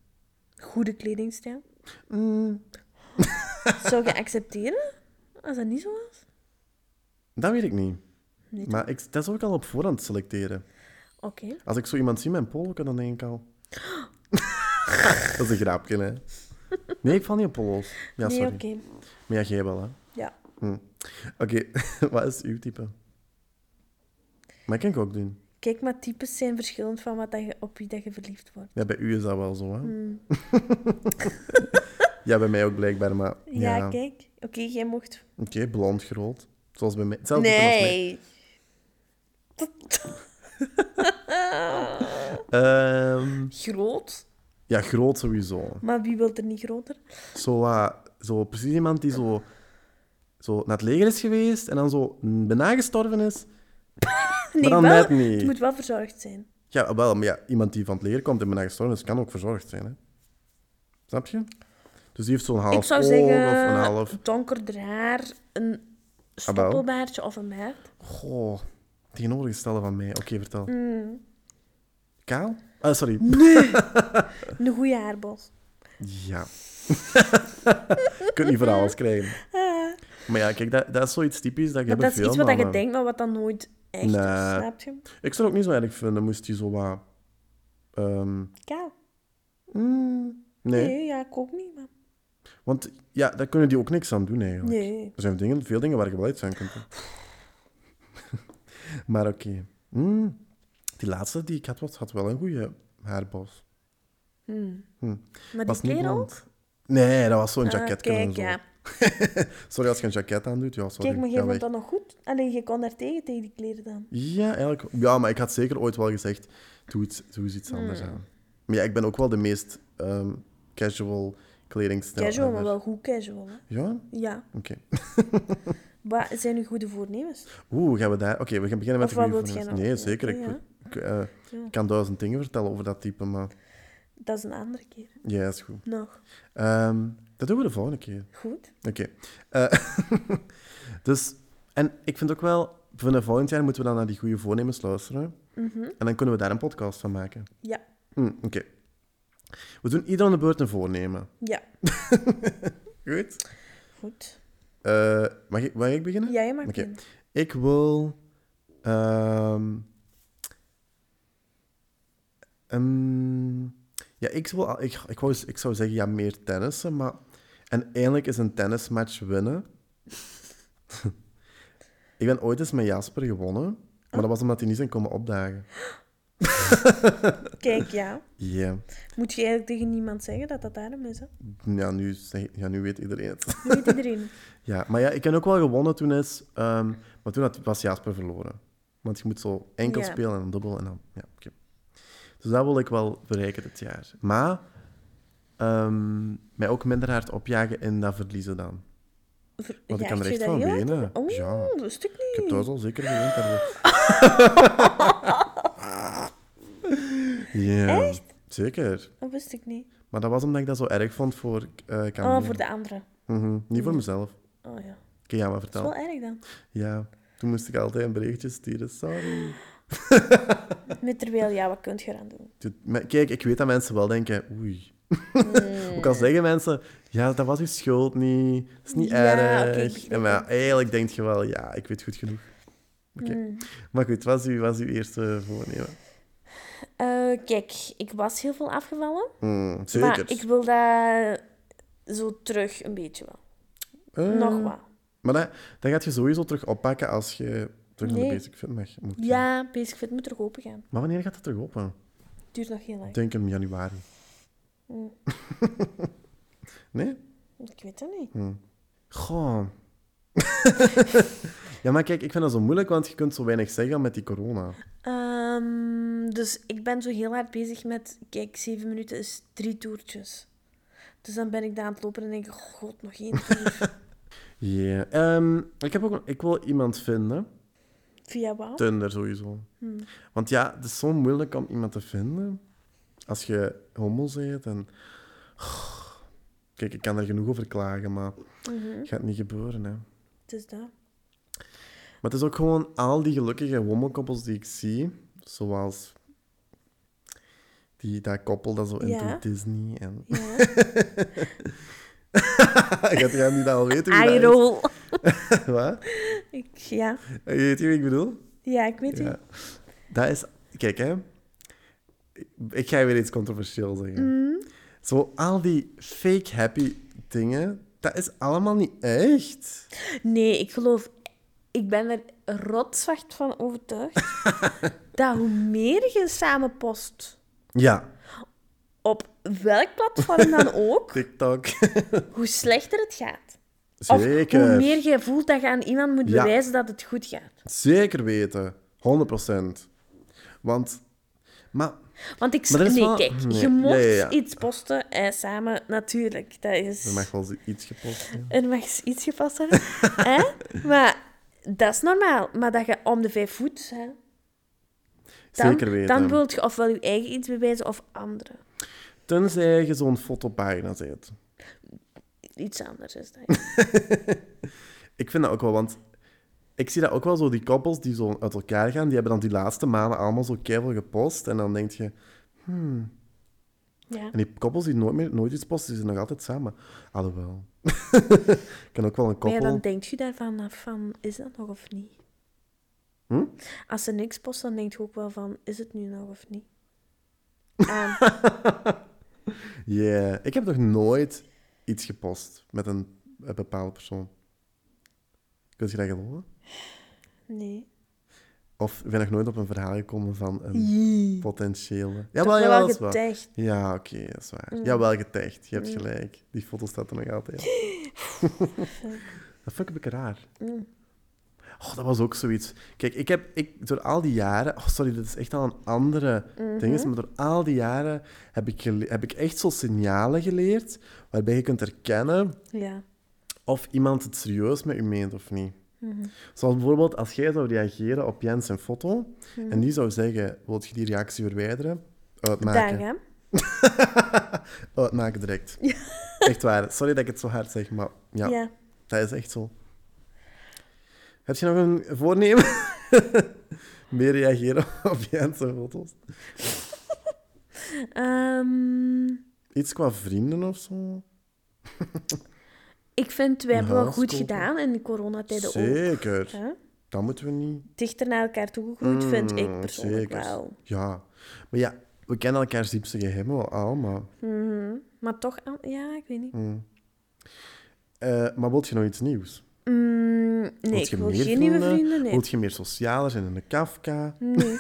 B: goede kledingstijl.
A: Mm,
B: Zou je accepteren als dat niet zo was?
A: dat weet ik niet.
B: Niet.
A: Maar ik, dat zou ik al op voorhand selecteren.
B: Oké.
A: Als ik zo iemand zie met een poloken, dan denk ik al... dat is een grapje, hè. Nee, ik val niet op polo's. Ja,
B: nee,
A: sorry.
B: oké.
A: Maar ja, jij wel, hè.
B: Ja.
A: Hm. Oké, wat is uw type? Maar kan ik ook doen.
B: Kijk, maar types zijn verschillend van wat dat je, op wie dat je verliefd wordt.
A: Ja, bij u is dat wel zo, hè.
B: Hmm.
A: ja, bij mij ook blijkbaar, maar...
B: Ja,
A: Ja,
B: kijk. Oké, jij mocht...
A: Oké, blond, groot. Zoals bij mij. Hetzelfde type als mij.
B: Nee.
A: Ehm,
B: Groot.
A: Ja, groot sowieso.
B: Maar wie wil er niet groter?
A: Zo, eh, zo precies iemand die zo, zo naar het leger is geweest en dan zo bijna gestorven is.
B: Nee,
A: dan
B: wel,
A: net niet.
B: Het moet wel verzorgd zijn.
A: Ja, wel, maar ja, iemand die van het leger komt en bijna gestorven is, kan ook verzorgd zijn. Hè? Snap je? Dus die heeft zo'n half
B: ik zou
A: oog
B: zeggen,
A: of een half...
B: donkerder haar, een
A: Ah, wel.
B: stoppelbaardje of een baard.
A: Goh, tegenovergestelde van mij. Oké, vertel.
B: Hmm.
A: Kaal? Ah, sorry.
B: Een goede haarbos.
A: Ja. Je kunt niet voor alles krijgen.
B: Ah.
A: Maar ja, kijk, dat, dat is zoiets typisch dat je
B: Maar
A: bij
B: dat is
A: veel
B: iets wat je
A: mannen-
B: denkt, maar wat dan nooit echt is,
A: Nee.
B: snap je?
A: Ik zou het ook niet zo erg vinden, moest hij zo wat... ehm,
B: Kaal.
A: mm,
B: Nee.
A: nee.
B: ja, ik ook niet. Maar...
A: want ja, daar kunnen die ook niks aan doen eigenlijk.
B: Nee.
A: Er zijn dingen, veel dingen waar je wel uit zijn kunt. doen. maar oké. Mm, die laatste die ik had, was- had wel een goede haarbos.
B: Maar die
A: Was niet
B: kerel?
A: blond. Nee, dat was zo'n
B: Ah,
A: jacket.
B: kijk, ja.
A: Sorry als je een jacket aandoet. Ja, sorry.
B: Kijk, maar
A: Ga
B: jij
A: weg.
B: vond dat nog goed? Alleen je kon daar tegen, tegen die kleren dan.
A: Ja, eigenlijk. Ja, maar ik had zeker ooit wel gezegd: doe iets, doe eens
B: Hmm.
A: iets anders aan. Maar ja, ik ben ook wel de meest ehm, casual kledingstijl.
B: Casual, maar
A: ever.
B: wel goed casual. Hè?
A: Ja?
B: Ja.
A: Oké.
B: Wat zijn uw goede voornemens?
A: Oeh, gaan we daar. Oké, we gaan beginnen met
B: Of
A: de
B: wat
A: goede
B: wilt jij
A: voornemens.
B: nog?
A: Nee, zeker. Ik,
B: Ja.
A: ik, eh,
B: Ja.
A: kan duizend dingen vertellen over dat type, maar
B: Dat is een andere keer.
A: ja, is goed.
B: Nog.
A: Ehm, dat doen we de volgende keer.
B: Goed.
A: Oké. Eh, dus, en ik vind ook wel, vanaf volgend jaar moeten we dan naar die goede voornemens luisteren.
B: Mhm.
A: En dan kunnen we daar een podcast van maken.
B: Ja.
A: Hm, Oké. We doen ieder aan de beurt een voornemen.
B: Ja.
A: Goed.
B: Goed.
A: Eh, mag, ik, mag ik beginnen?
B: Jij mag
A: Oké.
B: beginnen.
A: Ik wil... ehm, ehm, ja, ik, wil, al- ik, ik, wou, ik zou zeggen, ja, meer tennissen, maar... En eindelijk is een tennismatch winnen. ik ben ooit eens met Jasper gewonnen, maar dat was omdat hij niet zijn komen opdagen.
B: Kijk, ja.
A: Ja.
B: Moet je eigenlijk tegen niemand zeggen dat dat daarom is, hè?
A: Ja, nu, zeg- ja, nu weet iedereen het.
B: Dat weet iedereen.
A: Ja, maar ja, ik heb ook wel gewonnen toen is. ehm, maar toen had, was Jasper verloren. Want je moet zo enkel
B: Ja.
A: spelen en dan dubbel en dan. Ja, oké. Dus dat wil ik wel bereiken dit jaar. Maar ehm, mij ook minder hard opjagen in dat verliezen dan.
B: Ver-
A: Want ik kan
B: jaagt
A: er
B: je
A: echt
B: dat
A: van
B: heel hard?
A: wenen.
B: Oh,
A: Ja,
B: dat is stuk
A: ik heb
B: niet.
A: thuis al zeker gewend. daarvoor. ja,
B: Echt?
A: zeker.
B: Dat wist ik niet.
A: Maar dat was omdat ik dat zo erg vond voor eh Camille.
B: Oh, voor de andere.
A: Mhm, Niet voor mezelf.
B: Oh ja.
A: Oké, ja, maar
B: Dat
A: vertel.
B: is wel erg dan.
A: Ja, toen moest ik altijd een berichtje sturen. Sorry.
B: Met terwijl, ja, wat kun je eraan doen?
A: Dit- maar Kijk, ik weet dat mensen wel denken, oei. Ook al zeggen mensen, ja, dat was uw schuld niet. Dat is niet
B: Ja,
A: erg.
B: oké, ik begrijp
A: En maar
B: het.
A: eigenlijk denk je wel, ja, ik weet goed genoeg. Oké.
B: Mm.
A: Maar goed, wat was uw, was uw eerste voornemen?
B: Eh, kijk, ik was heel veel afgevallen.
A: Hmm,
B: Maar
A: zeker.
B: ik wil dat zo terug een beetje wel.
A: Eh,
B: Nog wat.
A: Maar dat, dat gaat je sowieso terug oppakken als je terug naar
B: Nee.
A: de basic fit mag. Moet gaan.
B: Ja, Basic Fit moet terug open gaan.
A: Maar wanneer gaat dat terug open?
B: Duurt nog heel lang.
A: Ik denk in januari.
B: Mm.
A: nee?
B: Ik weet dat niet.
A: Goh. ja, maar kijk, ik vind dat zo moeilijk, want je kunt zo weinig zeggen met die corona.
B: Ehm, dus ik ben zo heel hard bezig met... Kijk, zeven minuten is drie toertjes. Dus dan ben ik daar aan het lopen en denk ik... oh, god, nog één toer.
A: Ja. Ehm, ik, heb ook een- ik wil iemand vinden.
B: Via wat?
A: Tinder sowieso. Want ja, het is zo moeilijk om iemand te vinden. Als je homo bent en... Kijk, ik kan er genoeg over klagen, maar het gaat niet gebeuren, hè.
B: Dus dat.
A: Maar het is ook gewoon al die gelukkige homokoppels die ik zie. Zoals... Die, dat koppel dat zo in
B: Ja.
A: Disney en...
B: Ja.
A: Gaat jij niet al weten wie
B: Eye
A: dat is?
B: roll.
A: Wat?
B: Ik, ja.
A: Weet je wie ik bedoel?
B: ja, ik weet het.
A: Ja. Dat is... Kijk, hè. Ik- Ik ga weer iets controversieel zeggen.
B: Mm.
A: Zo, al die fake happy dingen, dat is allemaal niet echt.
B: Nee, ik geloof... Ik ben er rotswacht van overtuigd dat hoe meer je samen post,
A: Ja,
B: op welk platform dan ook,
A: TikTok.
B: hoe slechter het gaat. Of
A: Zeker.
B: hoe meer je voelt dat je aan iemand moet
A: Ja.
B: bewijzen dat het goed gaat.
A: Zeker weten. 100%. Want... Maar
B: Want ik...
A: Maar dat is
B: Nee,
A: wel-
B: kijk.
A: nee.
B: Je mocht
A: Ja, ja, ja.
B: iets posten en samen... Natuurlijk, dat is...
A: er mag wel zo iets gepost zijn.
B: Er mag iets gepast worden. hè? Maar dat is normaal. Maar dat je om de vijf voet... Hè, dan,
A: Zeker weten.
B: Dan wilt je ofwel je eigen iets bewijzen of anderen.
A: Tenzij je zo'n fotopagina zet.
B: Iets anders is dat.
A: Ik vind dat ook wel, want ik zie dat ook wel zo, die koppels die zo uit elkaar gaan, die hebben dan die laatste maanden allemaal zo keihard gepost. En dan denk je,
B: Ja.
A: en die koppels die nooit, meer, nooit iets posten, die zijn nog altijd samen. Alhoewel. kan ook wel een
B: Maar ja,
A: koppel.
B: dan denk je daarvan af van, is dat nog of niet?
A: Hm?
B: Als ze niks post, dan denk je ook wel van, is het nu nog of niet?
A: Yeah. Ik heb nog nooit iets gepost met een, een bepaalde persoon. Kun je dat geloven?
B: Nee.
A: Of ik ben nog nooit op een verhaal gekomen van een potentiële. Ja,
B: Toch
A: wel,
B: wel
A: ja, dat is waar.
B: getagd. Mm.
A: Ja, oké, dat is waar. Ja, wel getagd. Je hebt gelijk. Die foto staat er nog altijd. dat vond ik een beetje raar.
B: Mm.
A: Oh, dat was ook zoiets. Kijk, ik heb ik, door al die jaren... Oh, sorry, dit is echt al een andere
B: Mhm.
A: ding. is, Maar door al die jaren heb ik, gele- heb ik echt zo signalen geleerd... waarbij je kunt herkennen
B: Ja.
A: of iemand het serieus met u meent of niet.
B: Mhm.
A: Zoals bijvoorbeeld als jij zou reageren op Jens zijn foto...
B: Mhm.
A: en die zou zeggen, wilt je die reactie verwijderen? Uitmaken.
B: Dag, hè?
A: Uitmaken direct. Echt waar. Sorry dat ik het zo hard zeg, maar ja,
B: ja.
A: dat is echt zo. Heb je nog een voornemen? Meer reageren op Jens zijn foto's.
B: Ehm,
A: Iets qua vrienden of zo?
B: ik vind, we
A: Een
B: hebben wel
A: huis
B: goed
A: kopen.
B: gedaan in de coronatijden ook.
A: Zeker.
B: Hè?
A: Dat moeten we niet.
B: Dichter naar elkaar toegegroeid vind ik
A: Mm,
B: persoonlijk
A: zeker.
B: wel.
A: Ja. Maar ja, we kennen elkaars diepste geheimen wel allemaal.
B: Mhm. Maar toch, aan- ja, ik weet niet.
A: Mm. Eh, maar wilt je nog iets nieuws?
B: Mm, nee,
A: Wilt
B: ik
A: je
B: wil
A: meer
B: geen nieuwe
A: vrienden?
B: vrienden. Nee.
A: Wilt je meer socialer zijn in de Kafka?
B: Nee.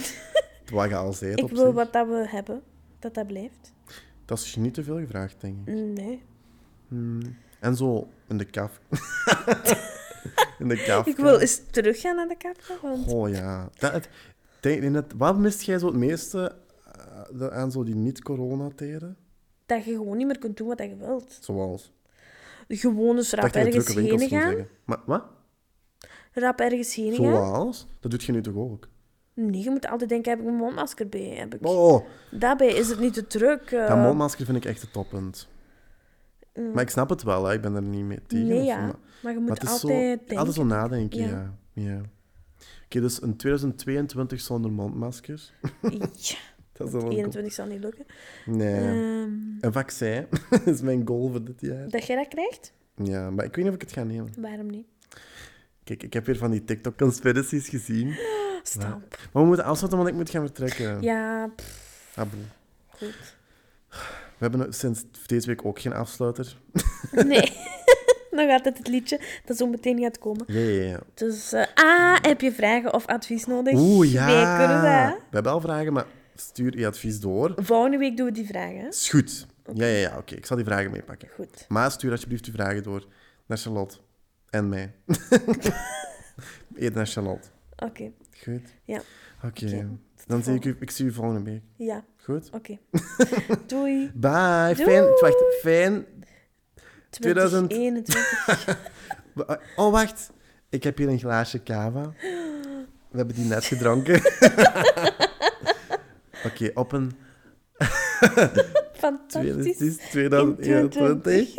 A: Wat je al zei, op
B: Ik wil
A: zich.
B: wat dat we hebben, dat dat blijft.
A: Dat is je niet te veel gevraagd, denk ik.
B: Nee.
A: En zo in de kaf. in de kaf.
B: Ik wil eens teruggaan naar de kapper, want
A: Oh ja. Dat, het- denk, denk dat, wat mist jij zo het meeste eh, de- aan zo die niet-corona-tijden?
B: dat je gewoon niet meer kunt doen wat je wilt.
A: Zoals.
B: Gewoon eens
A: Ik
B: rap
A: dacht dat je
B: ergens
A: drukke winkels
B: heen
A: ging
B: gaan.
A: zeggen. Maar wat?
B: Rap ergens heen gaan.
A: Zoals? Dat doet je nu toch ook?
B: Nee, je moet altijd denken, heb ik mijn mondmasker bij? Heb ik...
A: Oh,
B: Daarbij is het niet te druk. eh,
A: dat mondmasker vind ik echt het toppunt. Maar ik snap het wel, hè. ik ben er niet mee tegen.
B: ehm, Nee,
A: of zo,
B: ja.
A: maar-
B: Maar je
A: Maar
B: moet
A: het is
B: altijd
A: zo,
B: denken.
A: altijd zo nadenken, ja.
B: Ja.
A: ja. Oké, dus een 2022 zonder mondmaskers.
B: Ja,
A: Dat is
B: want
A: wel een
B: 21 zal niet lukken.
A: goal. Nee.
B: Ehm,
A: Een vaccin Dat is mijn goal voor dit jaar.
B: dat jij dat krijgt?
A: Ja, maar ik weet niet of ik het ga nemen.
B: Waarom niet?
A: Kijk, ik heb weer van die TikTok-conspiracies gezien.
B: Ah, Stamp.
A: Maar we moeten afsluiten, want ik moet gaan vertrekken.
B: Ja, pff,
A: Aboe.
B: goed.
A: We hebben sinds deze week ook geen afsluiter.
B: Nee. Nog altijd het liedje dat zo meteen gaat komen.
A: Ja, ja, ja.
B: Dus, eh, ah, heb je vragen of advies nodig?
A: Oeh, ja.
B: Wij kunnen
A: We
B: dat.
A: hebben al vragen, maar stuur je advies door.
B: Volgende week doen we die vragen. hè?
A: Is goed. Ja, ja, ja. Oké, ik zal die vragen meepakken.
B: Goed.
A: Maar stuur alsjeblieft je vragen door naar Charlotte. En mij. Eet naar Charlotte.
B: Oké.
A: Goed.
B: Ja.
A: Oké.
B: Oké,
A: Dan zie ik u, ik zie u volgende week.
B: Ja,
A: Goed?
B: oké. Doei.
A: Bye. Fijn,
B: Doei.
A: wacht, fijn. 2000.
B: 2021.
A: Oh, wacht. Ik heb hier een glaasje cava. We hebben die net gedronken. Oké, op een
B: Fantastisch.
A: 2021.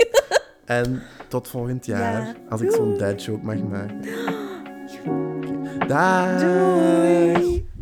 A: En tot volgend jaar,
B: Ja.
A: als ik zo'n dad joke mag maken. Oké. Dag.
B: Doei.